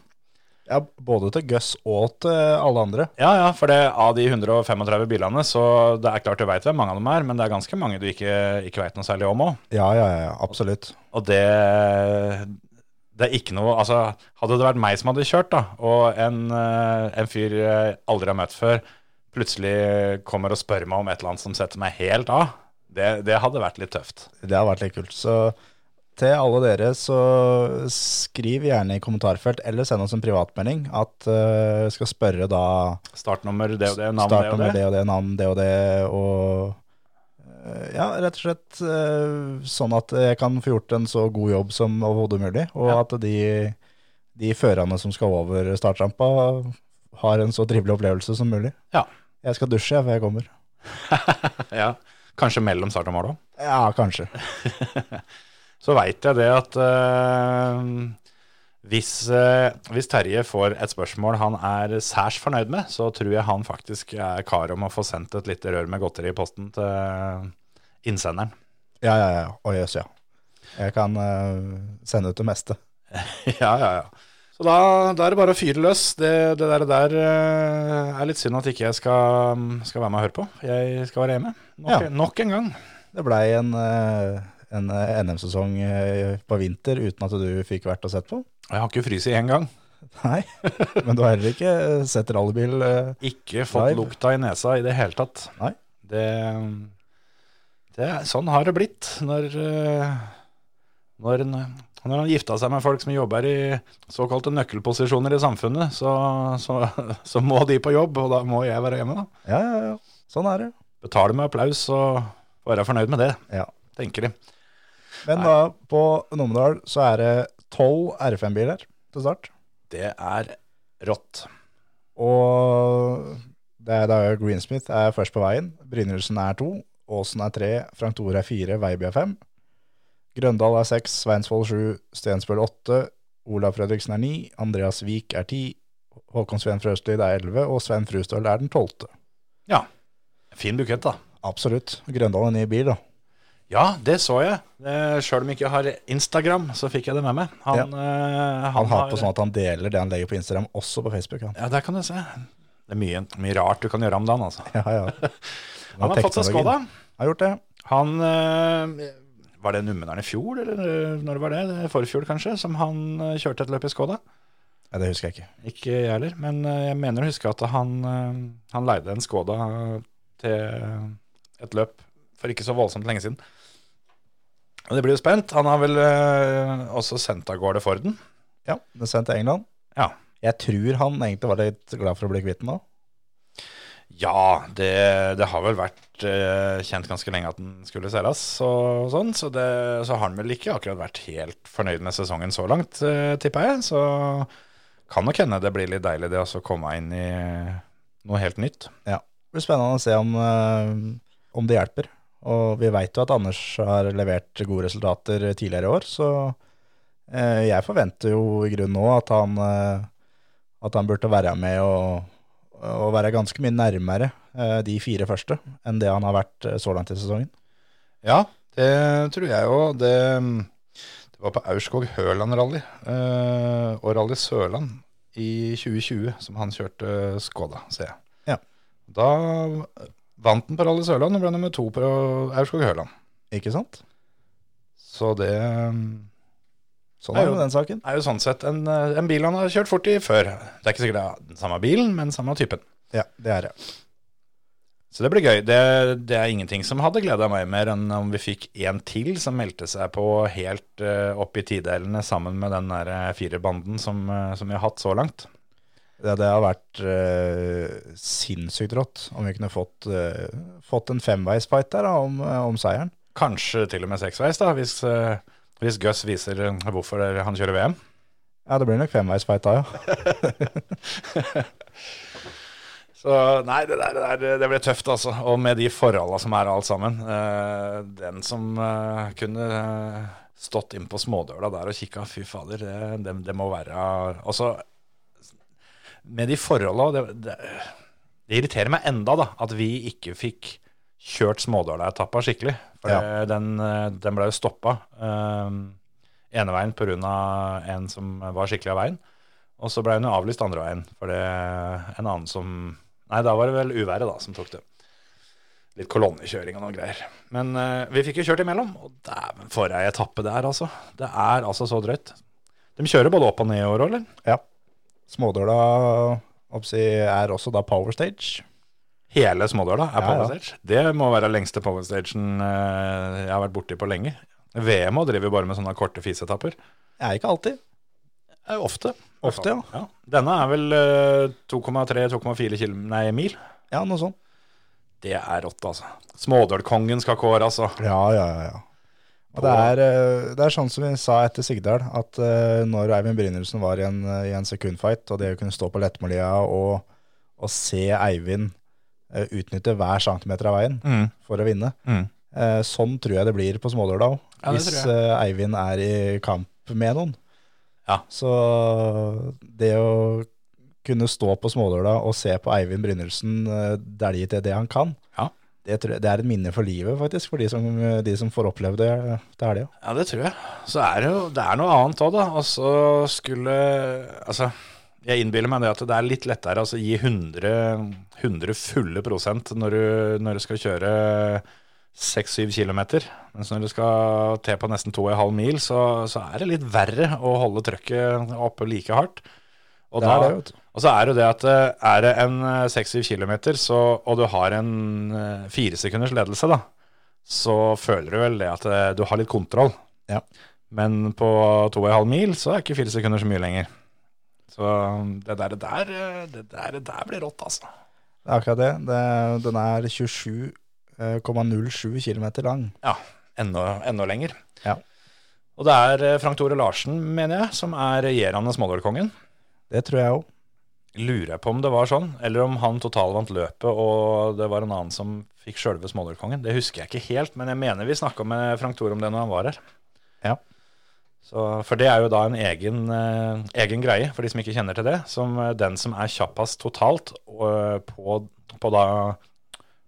Ja, Både til Gus og til alle andre.
Ja, ja, for det, av de 135 bilene, så det er klart du veit hvem mange av dem er, men det er ganske mange du ikke, ikke veit noe særlig om òg.
Ja, ja, ja, absolutt.
Og det, det er ikke noe Altså, hadde det vært meg som hadde kjørt, da, og en, eh, en fyr jeg aldri har møtt før, plutselig kommer og spør meg om et eller annet som setter meg helt av, det, det hadde vært litt tøft.
Det har vært litt kult. Så til alle dere, så skriv gjerne i kommentarfelt, eller send oss en privatmelding, at eh, vi skal spørre da
Startnummer det og det, navn det og
startnummer
det.
det og det, navn det og det, og eh, ja, rett og slett eh, sånn at jeg kan få gjort en så god jobb som overhodet mulig, og at de, de førerne som skal over startrampa, har en så trivelig opplevelse som mulig.
Ja.
Jeg skal dusje jeg, før jeg kommer.
ja. Kanskje mellom start og mål òg.
Ja, kanskje.
Så veit jeg det at eh, hvis, eh, hvis Terje får et spørsmål han er særs fornøyd med, så tror jeg han faktisk er kar om å få sendt et lite rør med godteri i posten til innsenderen.
Ja, ja, ja. Å, jøss, ja. Jeg kan eh, sende ut det meste.
ja, ja, ja. Så da, da er det bare å fyre løs. Det, det der, det der eh, er litt synd at ikke jeg skal, skal være med og høre på. Jeg skal være hjemme. Nok,
Ja.
nok en gang.
Det blei en, eh, en eh, NM-sesong eh, på vinter uten at du fikk vært og sett på.
Jeg har ikke fryst én gang.
Nei, men du har heller ikke eh, sett rallybil. eh.
Ikke fått
Live.
lukta i nesa i det hele tatt.
Nei.
Det, det er- Sånn har det blitt når eh, når, en- når han gifta seg med folk som jobber i såkalte nøkkelposisjoner i samfunnet, så, så, så må de på jobb, og da må jeg være hjemme. da.
Ja, ja, ja. Sånn er det.
Betale med applaus og være fornøyd med det,
Ja.
tenker de.
Men
Nei.
da, på Numedal så er det tolv R5-biler til start.
Det er Rått.
Og det er da Greensmith er først på veien. Brynildsen er to. Aasen er tre. Frank Thor er fire. Veiby er fem. Grøndal er seks. Sveinsvoll sju. Stensbøl åtte. Olav Fredriksen er ni. Andreas Vik er ti. Håkon Sveen Frøstlid er elleve. Og Svein Frustøl er den tolvte.
Fin bukett, da.
Absolutt. Grøndal er ny i bil, da.
Ja, det så jeg. Sjøl om jeg ikke har Instagram, så fikk jeg det med meg. Han, eh, han
Han har
har-
på sånn at han deler det han legger på Instagram, også på Facebook. Han.
Ja, der kan du se. Det er mye, mye rart du kan gjøre om dagen, altså.
Ja, ja.
Han har fått seg Skoda.
Teknologien. Har gjort det.
Han eh, Var det Numedalen i fjor, eller eh, når det var det? det? er Forfjor, kanskje, som han eh, kjørte et løp i Skoda?
Nei, det husker jeg ikke.
Ikke jeg heller, men eh, jeg mener å huske at han, eh, han leide en Skoda til et løp for ikke så voldsomt lenge siden. Og Det blir jo spent. Han har vel eh, også sendt av gårde Forden.
Ja, det er sendt til England.
Ja.
Jeg tror han egentlig var litt glad for å bli kvitt den nå.
Ja, det, det har vel vært eh, kjent ganske lenge at den skulle selges, og sånn, så, det, så har han vel ikke akkurat vært helt fornøyd med sesongen så langt, eh, tipper jeg. Så kan nok hende det blir litt deilig det også å komme inn i noe helt nytt.
Det blir spennende å se om, eh, om det hjelper. Og vi veit jo at Anders har levert gode resultater tidligere i år, så eh, jeg forventer jo i grunnen nå at han, eh, at han burde være med og, og være ganske mye nærmere eh, de fire første enn det han har vært eh, så langt i sesongen.
Ja, det tror jeg òg. Det, det var på Aurskog Høland rally eh, og Rally Sørland i 2020 som han kjørte Skoda, ser jeg.
Ja.
Da vant han på Rally Sørland og ble nummer to på Aurskog Høland.
Ikke sant?
Så det eh,
Sånn
Nei,
er
jo.
jo den saken.
er jo sånn sett en, eh, en bil han har kjørt fort i før. Det er ikke sikkert det er den samme bilen, men samme typen.
Ja, det er det.
Så det blir gøy. Det, det er ingenting som hadde gleda meg mer enn om vi fikk en til som meldte seg på helt eh, opp i tidelene sammen med den der eh, firerbanden som, eh, som vi har hatt så langt.
Det, det har vært eh, sinnssykt rått om vi kunne fått, eh, fått en femveisfight der da, om, om seieren.
eh, Kanskje til og med seksveis, da, hvis, eh, hvis Gus viser eh, hvorfor han kjører VM.
Ja, det blir nok femveisfight da, ja.
Så nei, det der, det der det ble tøft, altså. Og med de forholda som er alt sammen. Eh, den som eh, kunne eh, stått inn på smådøla der og kikka, fy fader, det, det, det må være Altså, med de forholda det, det, det irriterer meg enda da, at vi ikke fikk kjørt smådøla-etappa skikkelig. For
Ja.
det- den, eh, den ble jo stoppa eh, ene veien pga. en som var skikkelig av veien. Og så ble hun jo avlyst andre veien, for det en annen som Nei, da var det vel uværet da som tok det. Litt kolonnekjøring og noen greier. Men eh, vi fikk jo kjørt imellom, og dæven for ei etappe det er, altså. Det er altså så drøyt. De kjører både opp og ned i år òg, eller?
Ja. Smådøla oppsi, er også da power stage.
Hele Smådøla er
Ja,
power
ja.
stage. Det må være lengste power stagen eh, jeg har vært borti på lenge. VM òg driver jo bare med sånne korte fiseetapper.
Er ikke alltid.
Eh, Ofte.
Ofte, ja.
ja. Denne er vel eh, 2,3-2,4 km, nei, mil.
Ja, noe sånt.
Det er rått, altså. Smådølkongen skal kåres, altså.
Ja, ja, ja. ja. Og det er, eh, det er sånn som vi sa etter Sigdal, at eh, når Eivind Brynildsen var i en, eh, i en sekundfight, og det å kunne stå på lettmålia og, og se Eivind eh, utnytte hver centimeter av veien
Mm.
for å vinne,
Mm.
eh, sånn tror jeg det blir på Smådøla òg.
Ja, det
hvis
tror
eh, Eivind er i kamp med noen.
Ja.
Så det å kunne stå på Smådøla og se på Eivind Brynildsen eh, dælje til det han kan,
Ja.
det, tror jeg, det er et minne for livet, faktisk, for de som, de som får oppleve det eh, til helga.
Ja, det tror jeg. Så er det jo det er noe annet òg, da. Og så skulle Altså, jeg innbiller meg det at det er litt lettere å altså, gi 100, 100 fulle prosent når du, når du skal kjøre 6-7 km. Mens når du skal til på nesten 2,5 mil, så, så er det litt verre å holde trøkket oppe like hardt. Og
Det
da-
er det, vet du.
og så er det jo det at eh, er det en eh, 6-7 kilometer, så, og du har en eh, fire sekunders ledelse, da, så føler du vel det at eh, du har litt kontroll.
Ja.
Men på 2,5 mil så er ikke fire sekunder så mye lenger. Så um, det der, det der, eh, det der, det der blir rått, altså.
Det er akkurat det. det den er eh, 27,07 km lang.
Ja, enda, enda lenger.
Ja.
Og det er eh, Frank Tore Larsen, mener jeg, som er regjerende Smådålkongen.
Det tror jeg òg.
Lurer jeg på om det var sånn, eller om han totalvant løpet, og det var en annen som fikk sjølve smådyrkongen. Det husker jeg ikke helt, men jeg mener vi snakka med Frank Thor om det når han var her.
Ja.
Så, for det er jo da en egen, eh, egen greie, for de som ikke kjenner til det. Som eh, den som er kjappest totalt og, eh, på, på da,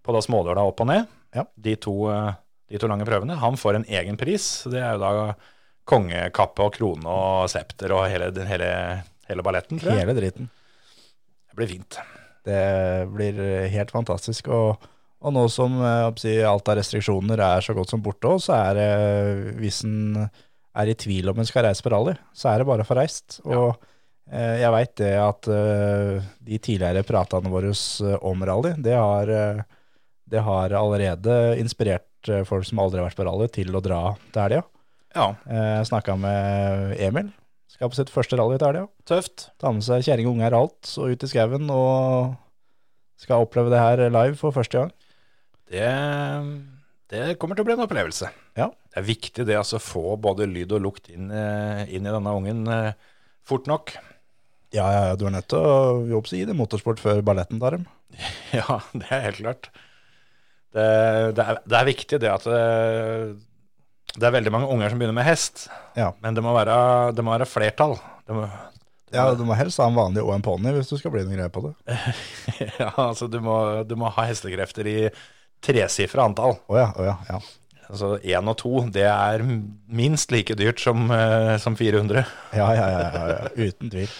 på da smådøla opp og ned,
Ja.
de, to, eh, de to lange prøvene, han får en egen pris. Det er jo da kongekappe og krone og septer og hele, den- hele, hele balletten, tror jeg.
Hele driten.
Det blir fint.
Det blir eh, helt fantastisk. Og, og nå som eh, oppsi, alt av restriksjoner er så godt som borte òg, så er det eh, Hvis en er i tvil om en skal reise på rally, så er det bare å få reist. Og eh, jeg veit det at eh, de tidligere pratene våre eh, om rally, det har, eh, det har allerede inspirert eh, folk som aldri har vært på rally, til å dra til helga.
Ja,
Eh, Jeg snakka med Emil. Skal på sitt første rally til helga.
tøft.
Ta med seg kjerring og unger og alt, og ut i skauen og skal oppleve det her live for første gang.
Det, det kommer til å bli en opplevelse.
Ja.
Det er viktig det, altså få både lyd og lukt inn, eh, inn i denne ungen eh, fort nok.
Ja, ja, ja, du er nødt til å jobbe seg i det motorsport før balletten tar dem.
Ja, det er helt klart. Det, det, er, det er viktig det at det, det er veldig mange unger som begynner med hest,
Ja.
men det må være, det må være flertall. Det må,
ja, du må helst ha en vanlig og en ponni hvis du skal bli noe greier på det.
ja, altså du må, du må ha hestekrefter i tresifra antall.
Å ja, å ja, ja.
Altså én og to, det er minst like dyrt som, eh, som 400.
Ja, ja, ja, ja, ja. uten tvil.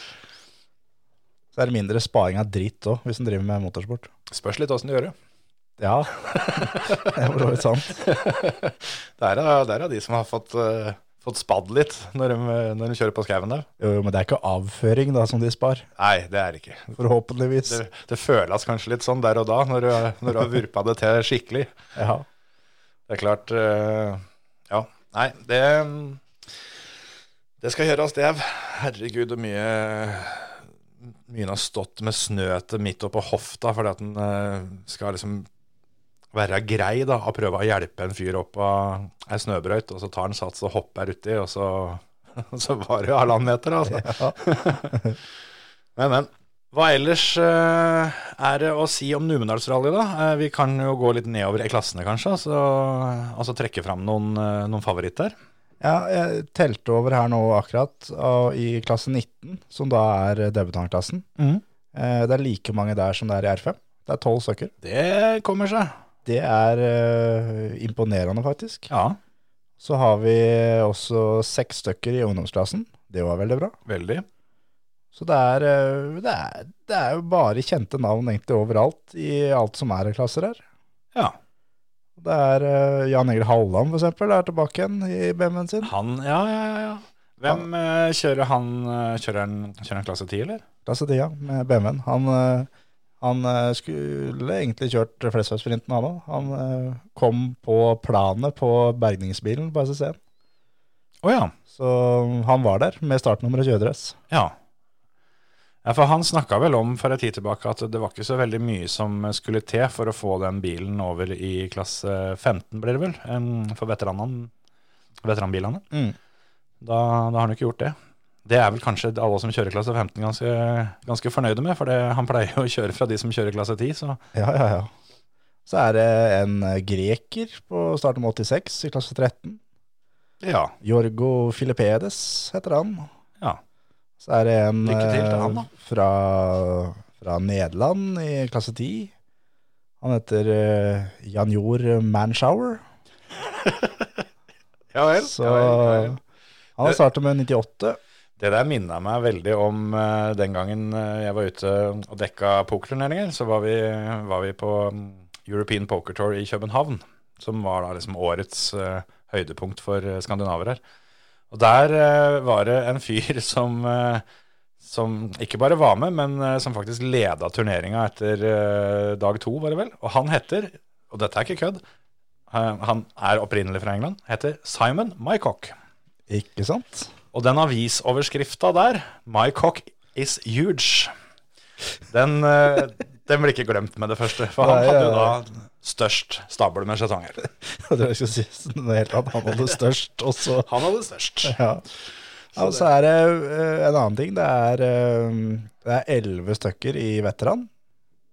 Så er det mindre sparing av dritt òg, hvis en driver med motorsport.
Spørs litt åssen du gjør det.
Ja, det er for så vidt sant.
Det er, det er av de som har fått, eh, fått spadd litt når de, eh, når de kjører på skauen der.
Jo, jo, men det er ikke avføring da som de spar,
Nei, det er det ikke.
forhåpentligvis.
Det, det føles kanskje litt sånn der og da, når du, når du har vurpa det til skikkelig.
Ja.
Det er klart eh, Ja. Nei, det Det skal gjøres, det. Herregud, hvor mye Mye har stått med snø til midt oppå hofta fordi at en eh, skal liksom være grei da, og prøve å hjelpe en fyr opp av ei snøbrøyt, og så tar han sats og hopper uti, og så, så var det jo halvannen meter, altså.
ja.
Men, men. Hva ellers eh, er det å si om Numedalsrally, da? Eh, vi kan jo gå litt nedover i klassene, kanskje, og så altså trekke fram noen, eh, noen favoritter.
Ja, jeg telte over her nå akkurat, og i klasse 19, som da er debutantklassen. Eh, Det er like mange der som det er i R5. Det er tolv stykker.
Det kommer seg.
Det er eh, imponerende, faktisk.
Ja,
Så har vi også seks stykker i ungdomsklassen. Det var veldig bra.
veldig.
Så det er, eh, det er, det er jo bare kjente navn egentlig overalt i alt som er klasser her.
Ja.
Det er eh, Jan Egil Halland, for eksempel, er tilbake igjen i BMW-en sin.
Han Ja, ja, ja. ja. Hvem eh, kjører han eh, Kjører han, kjører han klasse 10, eller?
klasse 10 ja, med BMW-en. Han, eh, han eh, skulle egentlig kjørt Flesvig-sprinten, han òg. Han eh, kom på planet på bergningsbilen på SSC-en.
Å ja.
Så han var der med startnummer og kjøredress.
Ja. ja, for han snakka vel om for en tid tilbake at det var ikke så veldig mye som skulle til for å få den bilen over i klasse 15, blir det vel, em, for veteranene, veteranbilene.
Mm.
Da, da har han jo ikke gjort det. Det er vel kanskje alle som kjører klasse 15 ganske, ganske fornøyde med, for det, han pleier jo å kjøre fra de som kjører klasse 10, så
Ja, ja, ja. Så er det en eh, greker på startnummer 86 i klasse 13.
ja.
Jorgo Filipedes heter han.
Ja.
Så er det en
Lykke til til han, da.
eh, fra, fra Nederland i klasse 10. Han heter eh, Janjor Manshower.
Ja vel.
Så han har startet med 98.
Det der minna meg veldig om eh, den gangen eh, jeg var ute og dekka pokerturneringer. Så var vi, var vi på mm, European Poker Tour i København, som var da liksom årets eh, høydepunkt for eh, skandinaver her. Og der eh, var det en fyr som, eh, som ikke bare var med, men eh, som faktisk leda turneringa etter eh, dag to, var det vel. Og han heter, og dette er ikke kødd, eh, han er opprinnelig fra England, heter Simon Mycock.
Ikke sant?
Og den avisoverskrifta der, 'My cock is huge', den, eh, den blir ikke glemt med det første. For han
Nei,
hadde jo
ja,
da størst stabel med skjetonger.
Jeg tror jeg skulle si noe helt annet. Han var det størst, og så
Han hadde størst.
ja. Ja, og så er det eh, en annen ting. Det er eh, det er elleve stykker i veteran.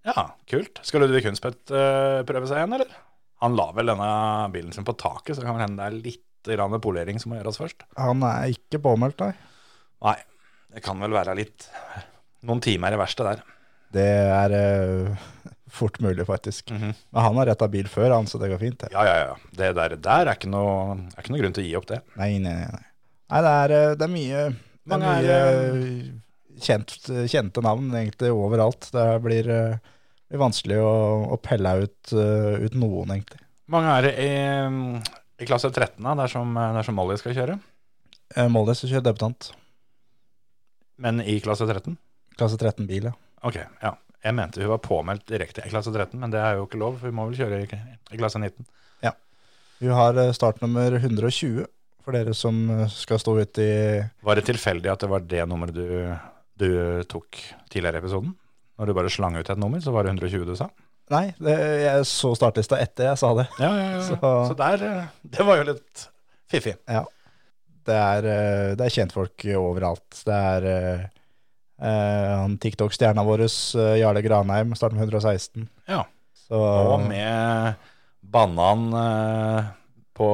Ja, kult. Skal Ludvig Hundspett eh, prøve seg igjen, eller? Han la vel denne bilen sin på taket, så det kan vel hende det er litt grann polering som må gjøres først.
Han er ikke påmeldt, nei.
Nei, det kan vel være litt Noen timer i verkstedet der.
Det er eh, fort mulig, faktisk.
Mhm.
Men han har retta bil før, han, så det går fint. Det.
Ja, ja, ja. Det der, der er, ikke noe, er ikke noe grunn til å gi opp det.
Nei, nei, nei. nei. nei det, er, eh, det er mye, det er
Mange er,
mye eh, kjent, kjente navn egentlig overalt. Det blir, eh, blir vanskelig å, å pelle ut, eh, ut noen, egentlig.
mange er det i, eh, i klasse 13, da, der som, der som Molly skal kjøre.
Eh, Molde skal kjøre debutant.
Men i klasse 13?
Klasse 13 bil, ja.
Ok, ja. Jeg mente hun var påmeldt direkte i klasse 13, men det er jo ikke lov. for Hun må vel kjøre i, i klasse 19.
Hun har eh, startnummer 120 for dere som eh, skal stå ute i
Var det tilfeldig at det var det nummeret du, du tok tidligere i episoden? Når du bare slang ut et nummer, så var det 120 du sa?
Nei, det, jeg så startlista etter jeg sa det.
Ja, ja, ja. Så,
Så-
der eh, Det var jo litt fiffig.
Det er, eh, det er kjentfolk overalt. Det er eh, eh, han TikTok-stjerna vår, eh, Jarle Granheim, starter med 116.
Ja.
Så,
Og med banan eh, på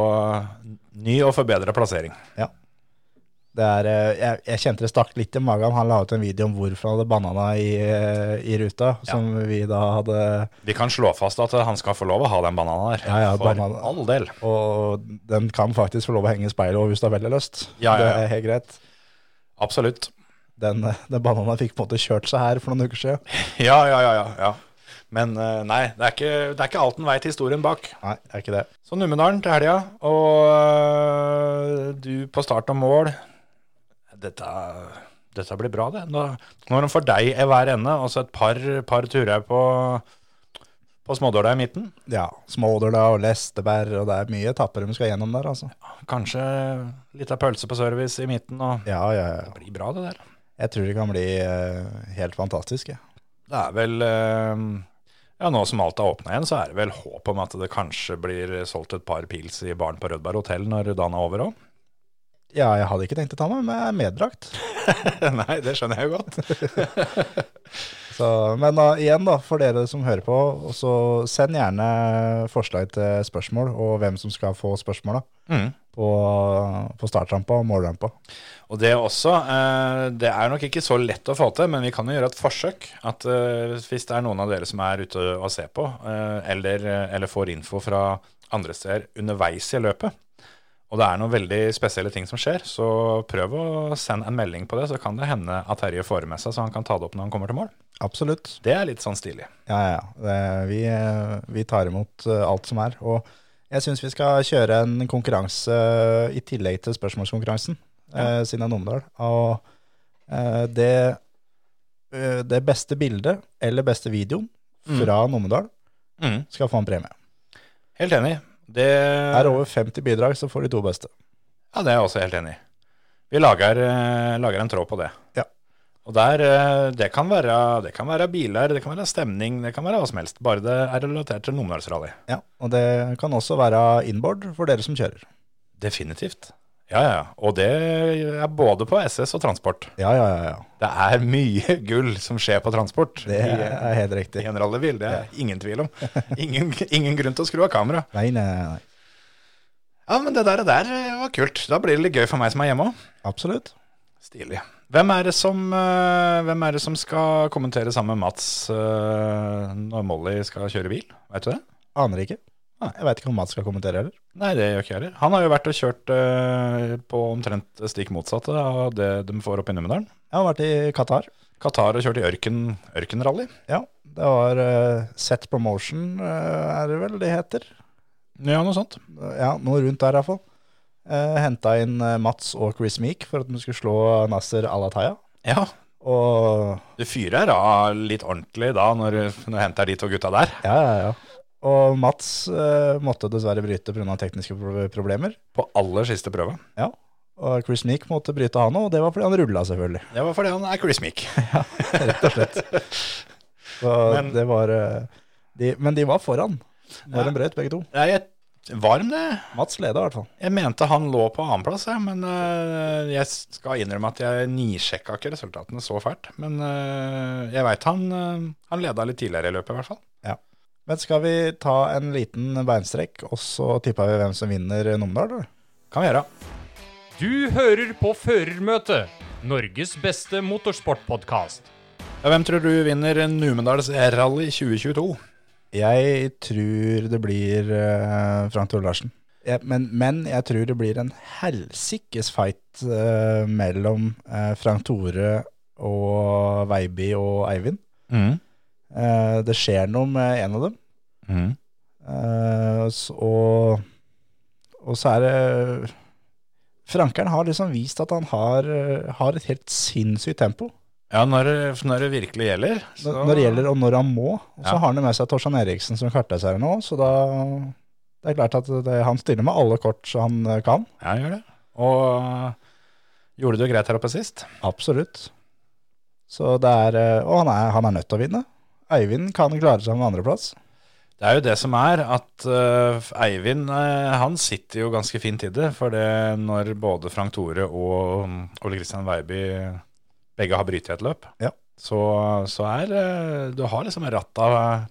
ny og forbedra plassering.
det er, eh, jeg, jeg kjente det stakk litt i magen. Han la ut en video om hvorfor han hadde banana i, eh, i ruta, som vi da hadde
Vi kan slå fast at han skal få lov å ha den bananen der.
Ja, ja,
for
banan-
all del.
Og den kan faktisk få lov å henge i speilet også hvis du har veldig lyst.
Ja, ja, ja.
Det er helt greit.
Absolutt.
Den, eh, den bananen fikk på en måte kjørt seg her for noen uker siden.
Ja, ja, ja. ja, ja. Men eh, nei, det er ikke, det er ikke alt en veit historien bak.
Nei, det er ikke det.
Så Numedalen til helga, og øh, du på start og mål. Dette, dette blir bra, det. Nå, når de får deg i hver ende, og så et par, par turer på, på smådåla i midten.
Ja, Smådøla og Lesteberg, og det er mye etapper de skal gjennom der, altså.
Kanskje litt av pølse på service i midten, og
Ja, ja, ja.
det blir bra, det der.
Jeg tror det kan bli eh, helt fantastisk, jeg.
Det er vel øh, Ja, nå som alt er åpna igjen, så er det vel håp om at det kanskje blir solgt et par pils i baren på Rødberg hotell når dagen er over òg.
Ja, jeg hadde ikke tenkt å ta meg, men jeg er meddrakt.
Nei, det skjønner jeg jo godt.
Så, men da, igjen, da, for dere som hører på, og så send gjerne forslag til spørsmål, og hvem som skal få spørsmåla
Mm.
på, på startrampa og målrampa.
Og det også, eh, det er nok ikke så lett å få til, men vi kan jo gjøre et forsøk. At eh, hvis det er noen av dere som er ute og ser på, eh, eller, eller får info fra andre steder underveis i løpet, og det er noen veldig spesielle ting som skjer, så prøv å sende en melding på det, så kan det hende at Terje får det med seg, så han kan ta det opp når han kommer til mål.
Absolutt.
Det er litt sånn stilig.
Ja, ja. ja. Det, vi, eh, vi tar imot eh, alt som er. Og jeg syns vi skal kjøre en konkurranse eh, i tillegg til spørsmålskonkurransen, eh, siden det er Numedal. Og eh, det, eh, det beste bildet, eller beste videoen,
Mm.
fra Numedal skal få en premie.
Helt enig. Det
Er det over 50 bidrag, så får de to beste.
Ja, det er jeg også helt enig i. Vi lager, eh, lager en tråd på det.
Ja.
Og der, eh, det kan, være, det kan være biler, det kan være stemning, det kan være hva som helst. Bare det er relatert til Numedalsrally.
Ja, Og det kan også være inboard for dere som kjører.
Definitivt. Ja, ja. Og det er både på SS og transport.
Ja, ja, ja. ja.
Det er mye gull som skjer på transport.
Det er helt
I,
riktig.
i en rallybil, det er ingen tvil om. Ingen, ingen grunn til å skru av kamera.
Nei, nei, nei. nei.
Ja, men det der, det der var kult. Da blir det litt gøy for meg som er hjemme òg.
Absolutt.
Stilig. Hvem er, det som, eh, hvem er det som skal kommentere sammen med Mats eh, når Molly skal kjøre bil? Vet du det?
Aner ikke. Nei, Jeg veit ikke om Mats skal kommentere heller.
Nei, det gjør ikke jeg heller. Han har jo vært og kjørt eh, på omtrent stikk motsatte av det de får opp i Numedalen.
Jeg har vært i Qatar.
Qatar har kjørt i ørken, ørkenrally.
Ja, det var eh, Set Promotion, eh, er det vel det heter?
Ja, noe sånt.
Ja, noe rundt der i hvert fall. Uh, Henta inn eh, Mats og Chris Meek for at de skulle slå Nasser Alataya.
Ja,
Og
du fyrer av litt ordentlig da når du når du henter de to gutta der.
ja, ja, ja. Og Mats eh, måtte dessverre bryte pga. tekniske pro- problemer.
På aller siste prøve.
Ja. Og Chris Meek måtte bryte han òg, og det var fordi han rulla, selvfølgelig.
Det var fordi han er Chris Meek.
Så
Men-
det var eh, de, Men de var foran når
Ja.
de brøt, begge to.
Nei, jeg Varm, det.
Mats leda i hvert fall.
Jeg mente han lå på annenplass, jeg, men eh, jeg skal innrømme at jeg nisjekka ikke resultatene så fælt. Men eh, jeg veit han, eh, han leda litt tidligere i løpet, i hvert fall.
Men skal vi ta en liten beinstrekk, og så tipper vi hvem som vinner eh, Numedal? eller?
Kan vi gjøre.
Du hører på Førermøtet, Norges beste motorsportpodkast.
Ja, Hvem tror du vinner Numedals rally 2022?
Jeg tror det blir eh, Frank Tore Larsen. Jeg- men, men jeg tror det blir en helsikes fight eh, mellom eh, Frank Tore og Veiby og Eivind.
Mm.
Eh, det skjer noe med en av dem.
Mm.
Eh, s- og, og så er det Frankeren har liksom vist at han har, eh, har et helt sinnssykt tempo
Ja, når, det- når det virkelig gjelder.
når,
så-
når det gjelder og når han må. Og så
Ja.
har han jo med seg Torstein Eriksen som kartleser nå, så da det er klart at det, han stiller med alle kort som han eh, kan.
Ja, han gjør det. Og eh, gjorde det jo greit her oppe sist.
Absolutt. Så det er eh, Og han er, han er nødt til å vinne. Eivind kan klare seg med andreplass.
Det er jo det som er at eh, Eivind eh, han sitter jo ganske fint i det. For det når både Frank Tore og mm, Ole Kristian Weiby begge har brytet et løp,
Ja.
så, så er eh, Du har liksom ratta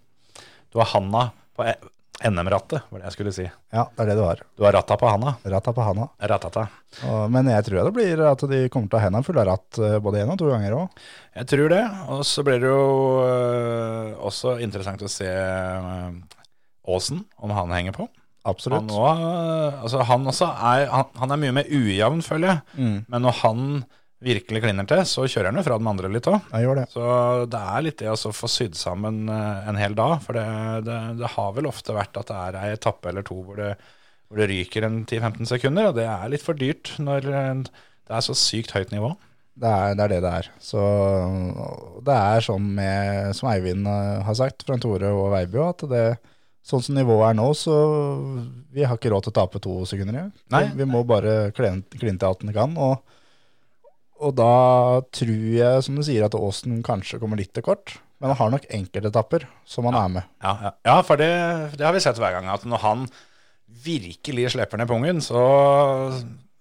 Du har handa på e- NM-rattet, var det jeg skulle si.
Ja, det er det det var.
Du har ratta på handa.
Ratta på handa.
Ratata.
Og- Men jeg tror det blir at de kommer til å ha hendene fulle av ratt eh, både én og to ganger òg.
Jeg tror det. Og så blir det jo eh, også interessant å se eh, Aasen, om han henger på. Han,
Absolutt.
også, altså han også er, han, han er mye mer ujevn, føler jeg.
Mm.
Men når han virkelig klinner til, så kjører han jo fra den andre litt òg.
Jeg gjør det.
Så det er litt det å så få sydd sammen eh, en hel dag. For det, det, det har vel ofte vært at det er ei etappe eller to hvor det, hvor det ryker en 10-15 sekunder. Og det er litt for dyrt når eh, det er så sykt høyt nivå.
Det er, det er det det er. Så det er sånn med, som Eivind eh, har sagt, fra Tore og Veiby, at det, sånn som nivået er nå, så vi har ikke råd til å tape to sekunder igjen.
Nei.
Vi, vi må bare kline kline til alt vi kan. Og, og da tror jeg, som du sier, at Aasen kanskje kommer litt til kort. Men han har nok enkeltetapper som han er med.
Ja, ja. ja for det, det har vi sett hver gang. At når han virkelig slipper ned pungen, så,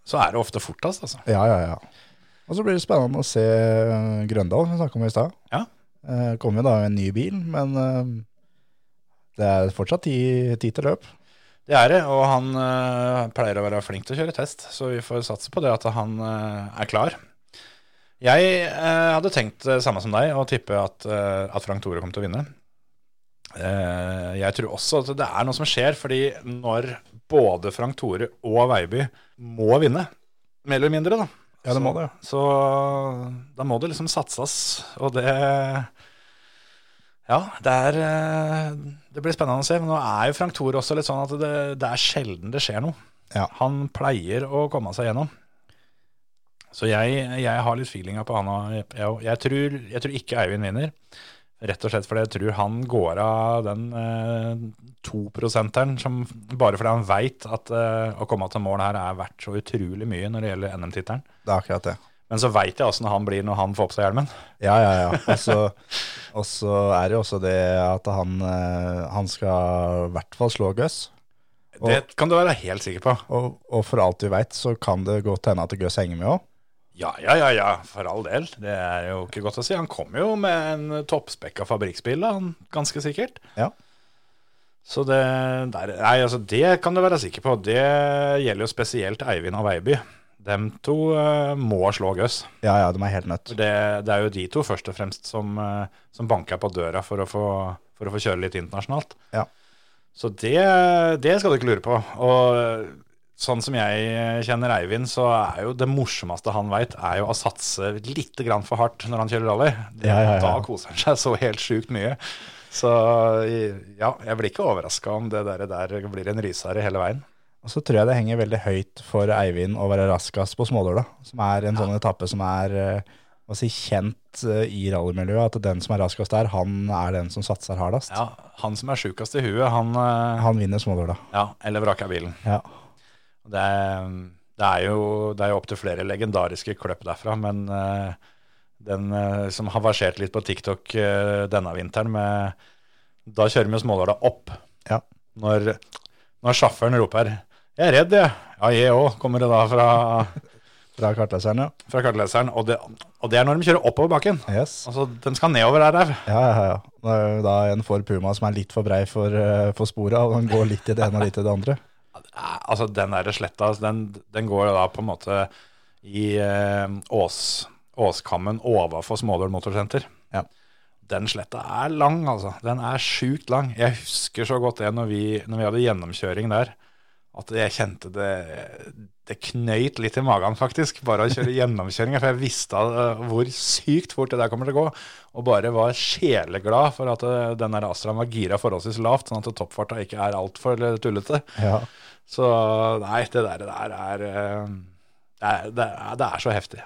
så er det ofte fortest, altså.
Ja, ja, ja. Og så blir det spennende å se eh, Grøndal, som vi snakka om i stad.
Ja.
Eh, Kommer jo da en ny bil, men eh, det er fortsatt tid, tid til løp.
Det er det, og han eh, pleier å være flink til å kjøre test, så vi får satse på det at han eh, er klar. Jeg eh, hadde tenkt det samme som deg, å tippe at, eh, at Frank Tore kom til å vinne. Eh, jeg tror også at det er noe som skjer, fordi når både Frank Tore og Veiby må vinne, mer eller mindre, da.
Ja, det må
så-
det.
Så da må det liksom satses, og det ja, det, er, eh, det blir spennende å se. Men nå er jo Frank Thor også litt sånn at det, det er sjelden det skjer noe.
Ja.
Han pleier å komme seg gjennom. Så jeg, jeg har litt feelinga på han. og Jeg, jeg, jeg, tror, jeg tror ikke Eivind vinner. Rett og slett fordi jeg tror han går av den toprosenteren eh, 2% som bare fordi han veit at eh, å komme til mål her er verdt så utrolig mye når det gjelder NM-tittelen.
Det er akkurat det.
Men så veit jeg åssen han blir når han får på seg hjelmen.
Ja, ja, ja. Og så- Og så er det jo også det at han, eh, han skal i hvert fall slå Gøss. Og-
Det kan du være helt sikker på.
Og, og for alt vi veit, så kan det godt hende at Gøss henger med òg.
Ja, ja, ja, ja, for all del. Det er jo ikke godt å si. Han kom jo med en toppspekka fabrikksbil, da, han, ganske sikkert.
Ja.
Så det, der, nei, altså, det kan du være sikker på. Det gjelder jo spesielt Eivind og Veiby. Dem to eh, må slå Gøss.
Ja, ja, de er helt nødt.
For Det, det er jo de to først og fremst som, eh, som banker på døra for å få, for å få kjøre litt internasjonalt.
Ja.
Så det, det skal du ikke lure på. Og sånn som jeg kjenner Eivind, så er jo det morsomste han veit, er jo å satse litt grann for hardt når han kjører rally. Det-
Ja, ja, ja.
Da koser han seg så helt sjukt mye. Så ja, jeg blir ikke overraska om det der, der blir en rysere hele veien.
Og så tror jeg det henger veldig høyt for Eivind å være raskest på Smådøla, som er en sånn etappe som er eh, hva si, kjent eh, i rallymiljøet, at den som er raskest der, han er den som satser hardest.
Ja, Han som er sjukest i huet, han, eh,
Han vinner Smådøla.
ja, eller vraker bilen.
Ja.
Det er, det er jo, det er jo opptil flere legendariske kløpp derfra, men eh, den eh, som har versert litt på TikTok eh, denne vinteren, med, da kjører vi jo Smådala opp.
Ja.
Når, Når sjåføren roper 'Jeg er redd, jeg'. Ja, jeg òg, kommer det da fra,
Fra kartleseren, ja.
fra kartleseren. Og det, og det er når de kjører oppover bakken.
Yes.
Altså, den skal nedover her, der.
Ja, ja, ja. Det er jo da en for Puma som er litt for brei for, eh, for sporet, og den går litt i det ene og litt i det andre.
Ja, Altså, den der sletta, altså, den, den går da på en måte i eh, ås, åskammen overfor Smådøl motorsenter.
Ja.
Den sletta er lang, altså. Den er sjukt lang. Jeg husker så godt det når vi, når vi hadde gjennomkjøring der, at jeg kjente det Det knøyt litt i magen, faktisk, bare å kjøre gjennomkjøringa. For jeg visste eh, hvor sykt fort det der kommer til å gå. Og bare var sjeleglad for at eh, den der Astraen var gira forholdsvis lavt, sånn at toppfarta ikke er altfor tullete.
Ja.
Så nei, det der, det der er, eh, det er, det er Det er så heftig.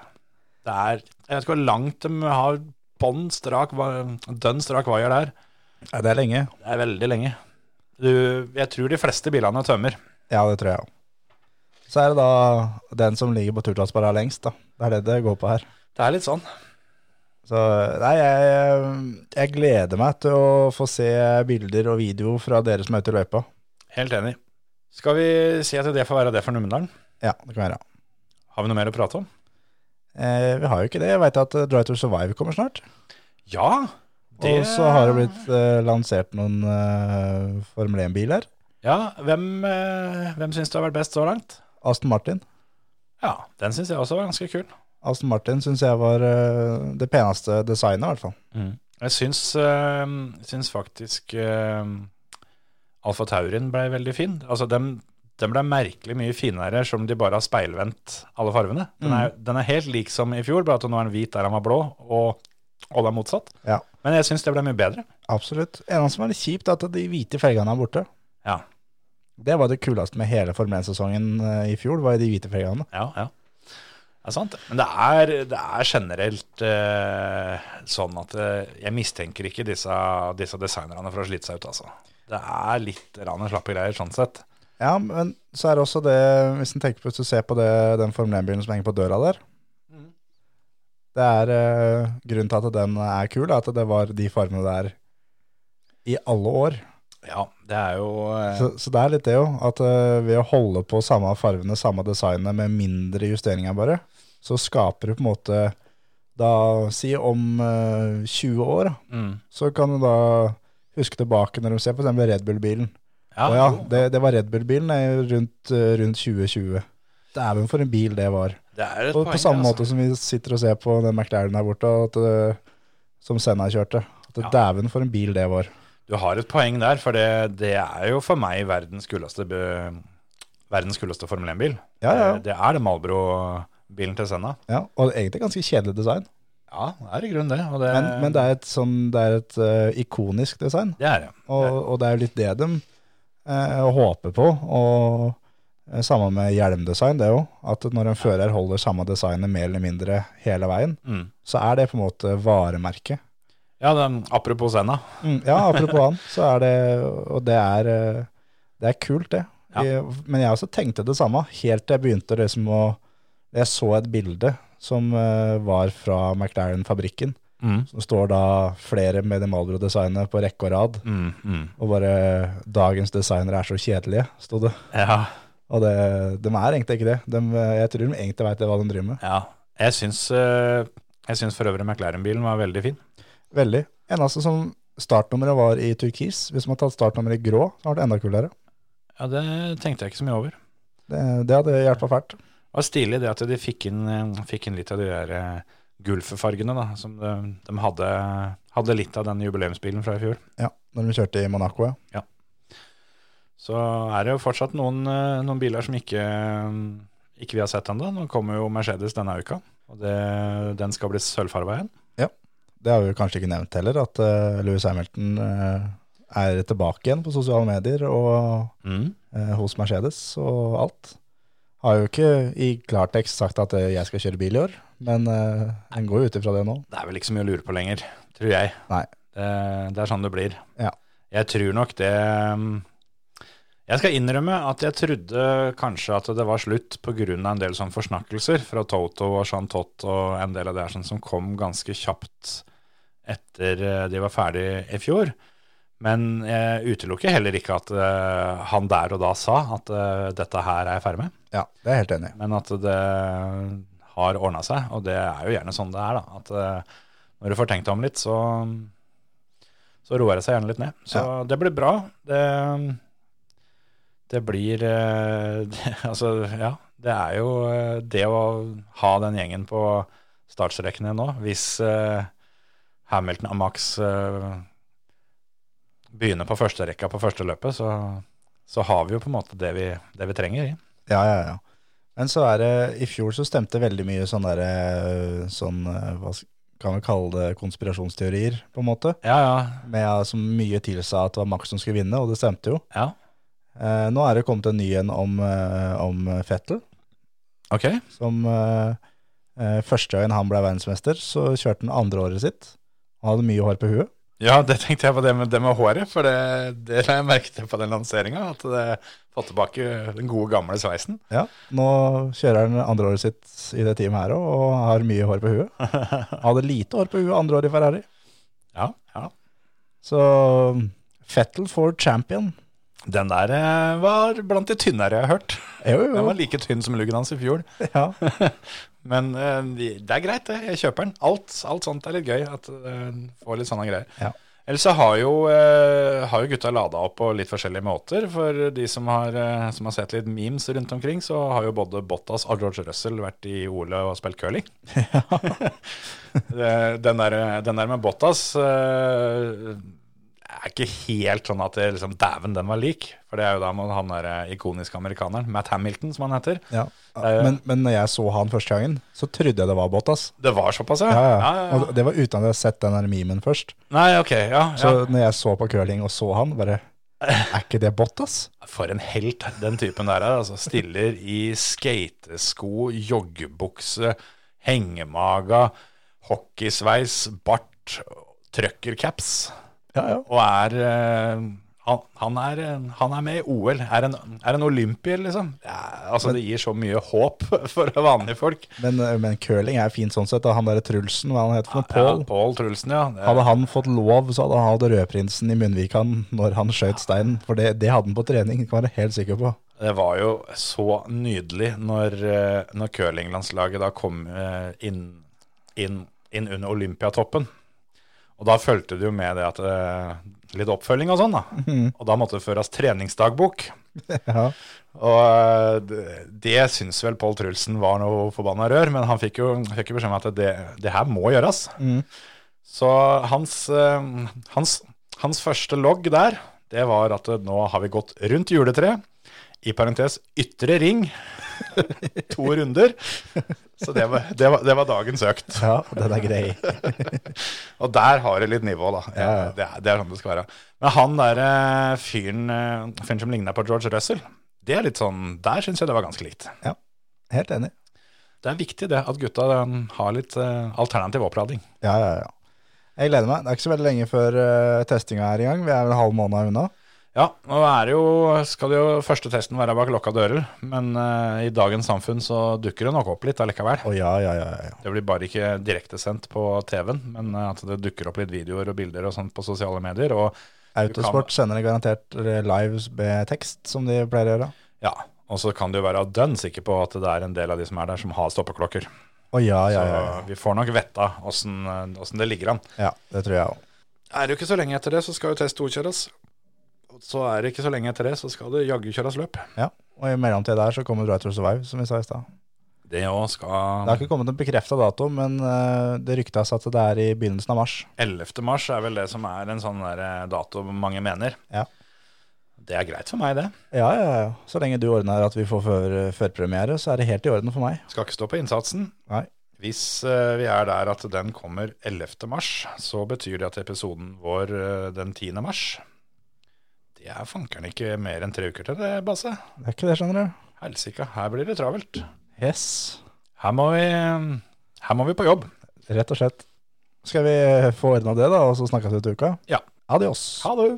Det er Jeg vet ikke hvor langt de har bånn strak, va- dønn strak vaier der.
Ja, Det er lenge.
Det er veldig lenge. Du, jeg tror de fleste bilene tømmer.
Ja, det tror jeg òg. Så er det da den som ligger på turtallsbarra lengst, da. Det er det det går på her.
Det er litt sånn.
Så nei, jeg, jeg gleder meg til å få se bilder og video fra dere som er ute i løypa.
Helt enig. Skal vi si at det får være det for Numedalen?
Ja, det kan være.
Har vi noe mer å prate om?
Eh, vi har jo ikke det. Jeg veit at eh, Drive to Survive kommer snart.
Ja!
Og så har det blitt eh, lansert noen eh, Formel 1-biler.
Ja, hvem, eh, hvem syns du har vært best så langt?
Aston Martin.
Ja, den syns jeg også var ganske kul.
Aston Martin syns jeg var eh, det peneste designet, i hvert fall.
Jeg syns, eh, syns faktisk uh, Alfa Taurin ble veldig fin. Altså, den, den ble merkelig mye finere som de bare har speilvendt alle fargene. Den er, den er helt lik som i fjor, bare at nå er den hvit der den var blå, og, og det er motsatt.
Ja.
Men jeg syns det ble mye bedre.
Absolutt. Eneste som er litt kjipt, er at de hvite felgene er borte.
Ja.
Det var det kuleste med hele Formel 1-sesongen eh, i fjor, var jo de hvite felgene.
Ja, ja. Det er sant. Men det er, det er generelt eh, sånn at eh, jeg mistenker ikke disse, disse designerne for å slite seg ut, altså. Det er litt rann slappe greier sånn sett.
Ja, men så er det også det, hvis en tenker på, hvis du ser på det, den Formel 1-bilen som henger på døra der, det er eh, grunnen til at den er kul, er at det var de farmene der i alle år.
Ja, det er jo eh,
Så, så det er litt det jo, at eh, ved å holde på samme farvene, samme designet, med mindre justeringer bare, så skaper du på en måte, da si om eh, 20 år, da,
mm.
så kan du da huske tilbake når du ser på den Red Bull-bilen.
Ja,
Å ja,
jo.
det, det var Red Bull-bilen eh, rundt, eh, rundt 2020. Dæven for en bil det var.
Det er et
Og
poeng,
på samme
altså.
måte som vi sitter og ser på den McLaren her borte, at, eh, som Senna kjørte. At
Ja.
Dæven for en bil det var.
Du har et poeng der, for det, det er jo for meg verdens kuleste, be- verdens kuleste Formel 1-bil.
Ja, ja,
Det, det er det Malbro-bilen til Senna.
ja. Og egentlig ganske kjedelig design.
Ja, det er i grunnen det. Og det
Men, men det er et, sånn, det er et eh, ikonisk design.
det er det.
Og, og det er jo litt det de eh, håper på. Og eh, samme med hjelmdesign, det òg. At når en fører holder samme designet mer eller mindre hele veien,
Mm.
så er det på en måte varemerket.
Ja, den, apropos Senna.
Mm, ja, apropos han, så er det Og det er, eh, det er kult, det.
Ja.
Jeg, men jeg også tenkte det samme, helt til jeg begynte liksom å Jeg så et bilde som eh, var fra McLaren-fabrikken.
Mm.
Som står da flere med det Malbro-designet på rekke og rad.
Mm, mm.
Og bare 'Dagens designere er så kjedelige', sto det.
Ja,
Og det, de er egentlig ikke det. De, eh, jeg tror de egentlig veit hva de driver med.
ja. Jeg syns, eh, jeg syns for øvrig McLaren-bilen var veldig fin.
Veldig. Eneste som startnummeret var i turkis. Hvis man hadde tatt startnummeret i grå, så hadde det enda kulere.
Ja, det tenkte jeg ikke så mye over.
Det, det hadde hjulpet fælt.
Det var stilig det at de fikk inn, eh, fikk inn litt av de der eh, gulffargene, da. Som de, de hadde, hadde litt av den jubileumsbilen fra i fjor.
Ja, når de kjørte i Monaco, ja.
Så er det jo fortsatt noen, eh, noen biler som ikke, eh, ikke vi har sett ennå. Nå kommer jo Mercedes denne uka, og det, den skal bli sølvfarga igjen.
Det har vi jo kanskje ikke nevnt heller, at eh, Lewis Hamilton eh, er tilbake igjen på sosiale medier og
Mm.
eh, hos Mercedes og alt. Har jo ikke i klartekst sagt at eh, jeg skal kjøre bil i år, men eh, en går jo ut ifra det nå.
Det er vel ikke så mye å lure på lenger, tror jeg.
Nei.
Det, det er sånn det blir.
Ja.
Jeg tror nok det mm, Jeg skal innrømme at jeg trodde kanskje at det var slutt pga. en del sånne forsnakkelser fra Toto og Jean Tott og en del av det her sånn som kom ganske kjapt etter eh, de var ferdig i fjor. Men jeg utelukker heller ikke at eh, han der og da sa at eh, dette her er jeg ferdig med,
Ja, det er jeg helt enig i.
men at det har ordna seg. Og det er jo gjerne sånn det er, da. At eh, når du får tenkt deg om litt, så, så roer det seg gjerne litt ned. Så det blir bra. Det, det blir eh, det, Altså, ja. Det er jo eh, det å ha den gjengen på startstrekene nå, hvis eh, Hamilton og Max eh, begynner på første rekka på første løpet, så, så har vi jo på en måte det vi, det vi trenger. i.
Ja, ja, ja. Men så er det, i fjor så stemte veldig mye sånn derre Sånn, øh, hva sk- kan vi kalle det, konspirasjonsteorier, på en måte.
Ja, ja.
Med øh, som mye tilsa at det var Max som skulle vinne, og det stemte jo.
ja.
Eh, nå er det kommet en ny en om, øh, om Fettel,
Ok,
som øh, øh, første gangen han ble verdensmester, så kjørte han andre året sitt. Han hadde mye hår på huet.
ja, det tenkte jeg på det med, det med håret, for det, det la jeg merke til på den lanseringa, at det fått tilbake den gode gamle sveisen.
Ja, nå kjører han andre året sitt i det teamet her også, og har mye hår på huet. Han hadde lite hår på huet andre året i Ferrari.
Ja, ja.
Så Fettel for champion.
Den der eh, var blant de tynnere jeg har hørt.
Jo,
Den
jo,
var like tynn som luggen hans i fjor.
ja.
Men eh, de- det er greit, det. Jeg kjøper den. Alt, alt sånt er litt gøy. At eh, får litt sånne greier.
Ja.
Ellers så har jo, eh, har jo gutta lada opp på litt forskjellige måter. For de som har, eh, som har sett litt memes rundt omkring, så har jo både Bottas og George Russell vært i OL og spilt curling. Det- den, der, den der med Bottas eh, er ikke helt sånn at det liksom Dæven, den var lik. For det er jo da med han der eh, ikoniske amerikaneren, Matt Hamilton, som han heter.
ja.
er-
Men, men når jeg så han første gangen, så trodde jeg det var Bottas.
Det var såpass, ja.
Ja, ja.
Ja, ja, ja.
Og det var uten at jeg hadde sett den der memen først.
Nei, ok, ja.
Så
ja.
når jeg så på curling og så han, bare Er ikke det Bottas?
For en helt den typen der er. Altså, stiller i skatesko, joggebukse, hengemaga, hockeysveis, bart, trøkkercaps.
Ja, ja.
Og er eh, han, han, er, eh, han er med i OL. Er en, er en olympier, liksom. Ja, altså, det gir så mye håp for vanlige folk.
Men, eh, men curling er fint sånn sett. Da. Han derre Trulsen, hva han heter for noe? Pål.
Ja, Pål Trulsen, ja. Det-
Hadde han fått lov, så hadde han hatt rødprinsen i munnvikan når han skjøt steinen. For det, det hadde han på trening, kan jeg være helt sikker på.
Det var jo så nydelig når, eh, når curlinglandslaget da kom eh, inn, inn, inn under Olympiatoppen. Og da fulgte det jo med det at eh, Litt oppfølging og sånn, da. Og da måtte det føres treningsdagbok.
Ja.
Og eh, det, det syns vel Pål Trulsen var noe forbanna rør, men han fikk jo fikk jo beskjed om at det, det her må gjøres. Så hans, eh, hans, hans første logg der, det var at eh, nå har vi gått rundt juletreet, i parentes ytre ring, to runder. Så det var, det var, det var dagens økt.
ja, den er grei.
Og der har det litt nivå, da. Eh, Det, er, det er sånn det skal være. Men han derre fyren, eh, fyren som ligna på George Russell, det er litt sånn Der syns jeg det var ganske likt.
Helt enig.
Det er viktig det, at gutta eh, har litt eh, alternativ opplading.
Ja, ja, ja. Jeg gleder meg. Det er ikke så veldig lenge før eh, testinga er i gang. Vi er vel en halv måned unna.
Ja, nå er det jo, skal det jo første testen være bak lukka dører, men eh, i dagens samfunn så dukker det nok opp litt allikevel.
Å ja, ja, ja, ja, ja.
Det blir bare ikke direktesendt på TV-en, men eh, at det dukker opp litt videoer og bilder og sånt på sosiale medier. Og
Autosport sender det garantert eh, lives med tekst, som de pleier å gjøre.
ja, og så kan du jo være dønn sikker på at det er en del av de som er der, som har stoppeklokker.
Å ja, ja,
Så
ja, ja.
vi får nok vetta åssen eh, åssen det ligger an.
Ja, det tror jeg òg.
Er det jo ikke så lenge etter det, så skal jo test 2 kjøres. Så er det ikke så lenge etter det, så skal det jaggu kjøres løp.
Ja. Og i mellomtida der så kommer Drive to Survive, som vi sa i stad.
Det òg skal
Det har ikke kommet en bekrefta dato, men eh, det ryktes at det er i begynnelsen av mars.
11. mars er vel det som er en sånn der eh, dato mange mener.
Ja.
Det er greit for meg, det.
Ja, ja, ja. Så lenge du ordner at vi får før, førpremiere, så er det helt i orden for meg.
Skal ikke stå på innsatsen.
Nei.
Hvis eh, vi er der at den kommer 11. mars, så betyr det at episoden vår eh, den 10. mars Det er fankeren ikke mer enn tre uker til det, Basse.
Det er ikke det, skjønner du.
Helsika, her blir det travelt.
Yes.
Her må vi, her må vi på jobb.
Rett og slett. Skal vi få ordna det, da, og så snakkes vi til uka?
Ja.
Adios.
Ha det!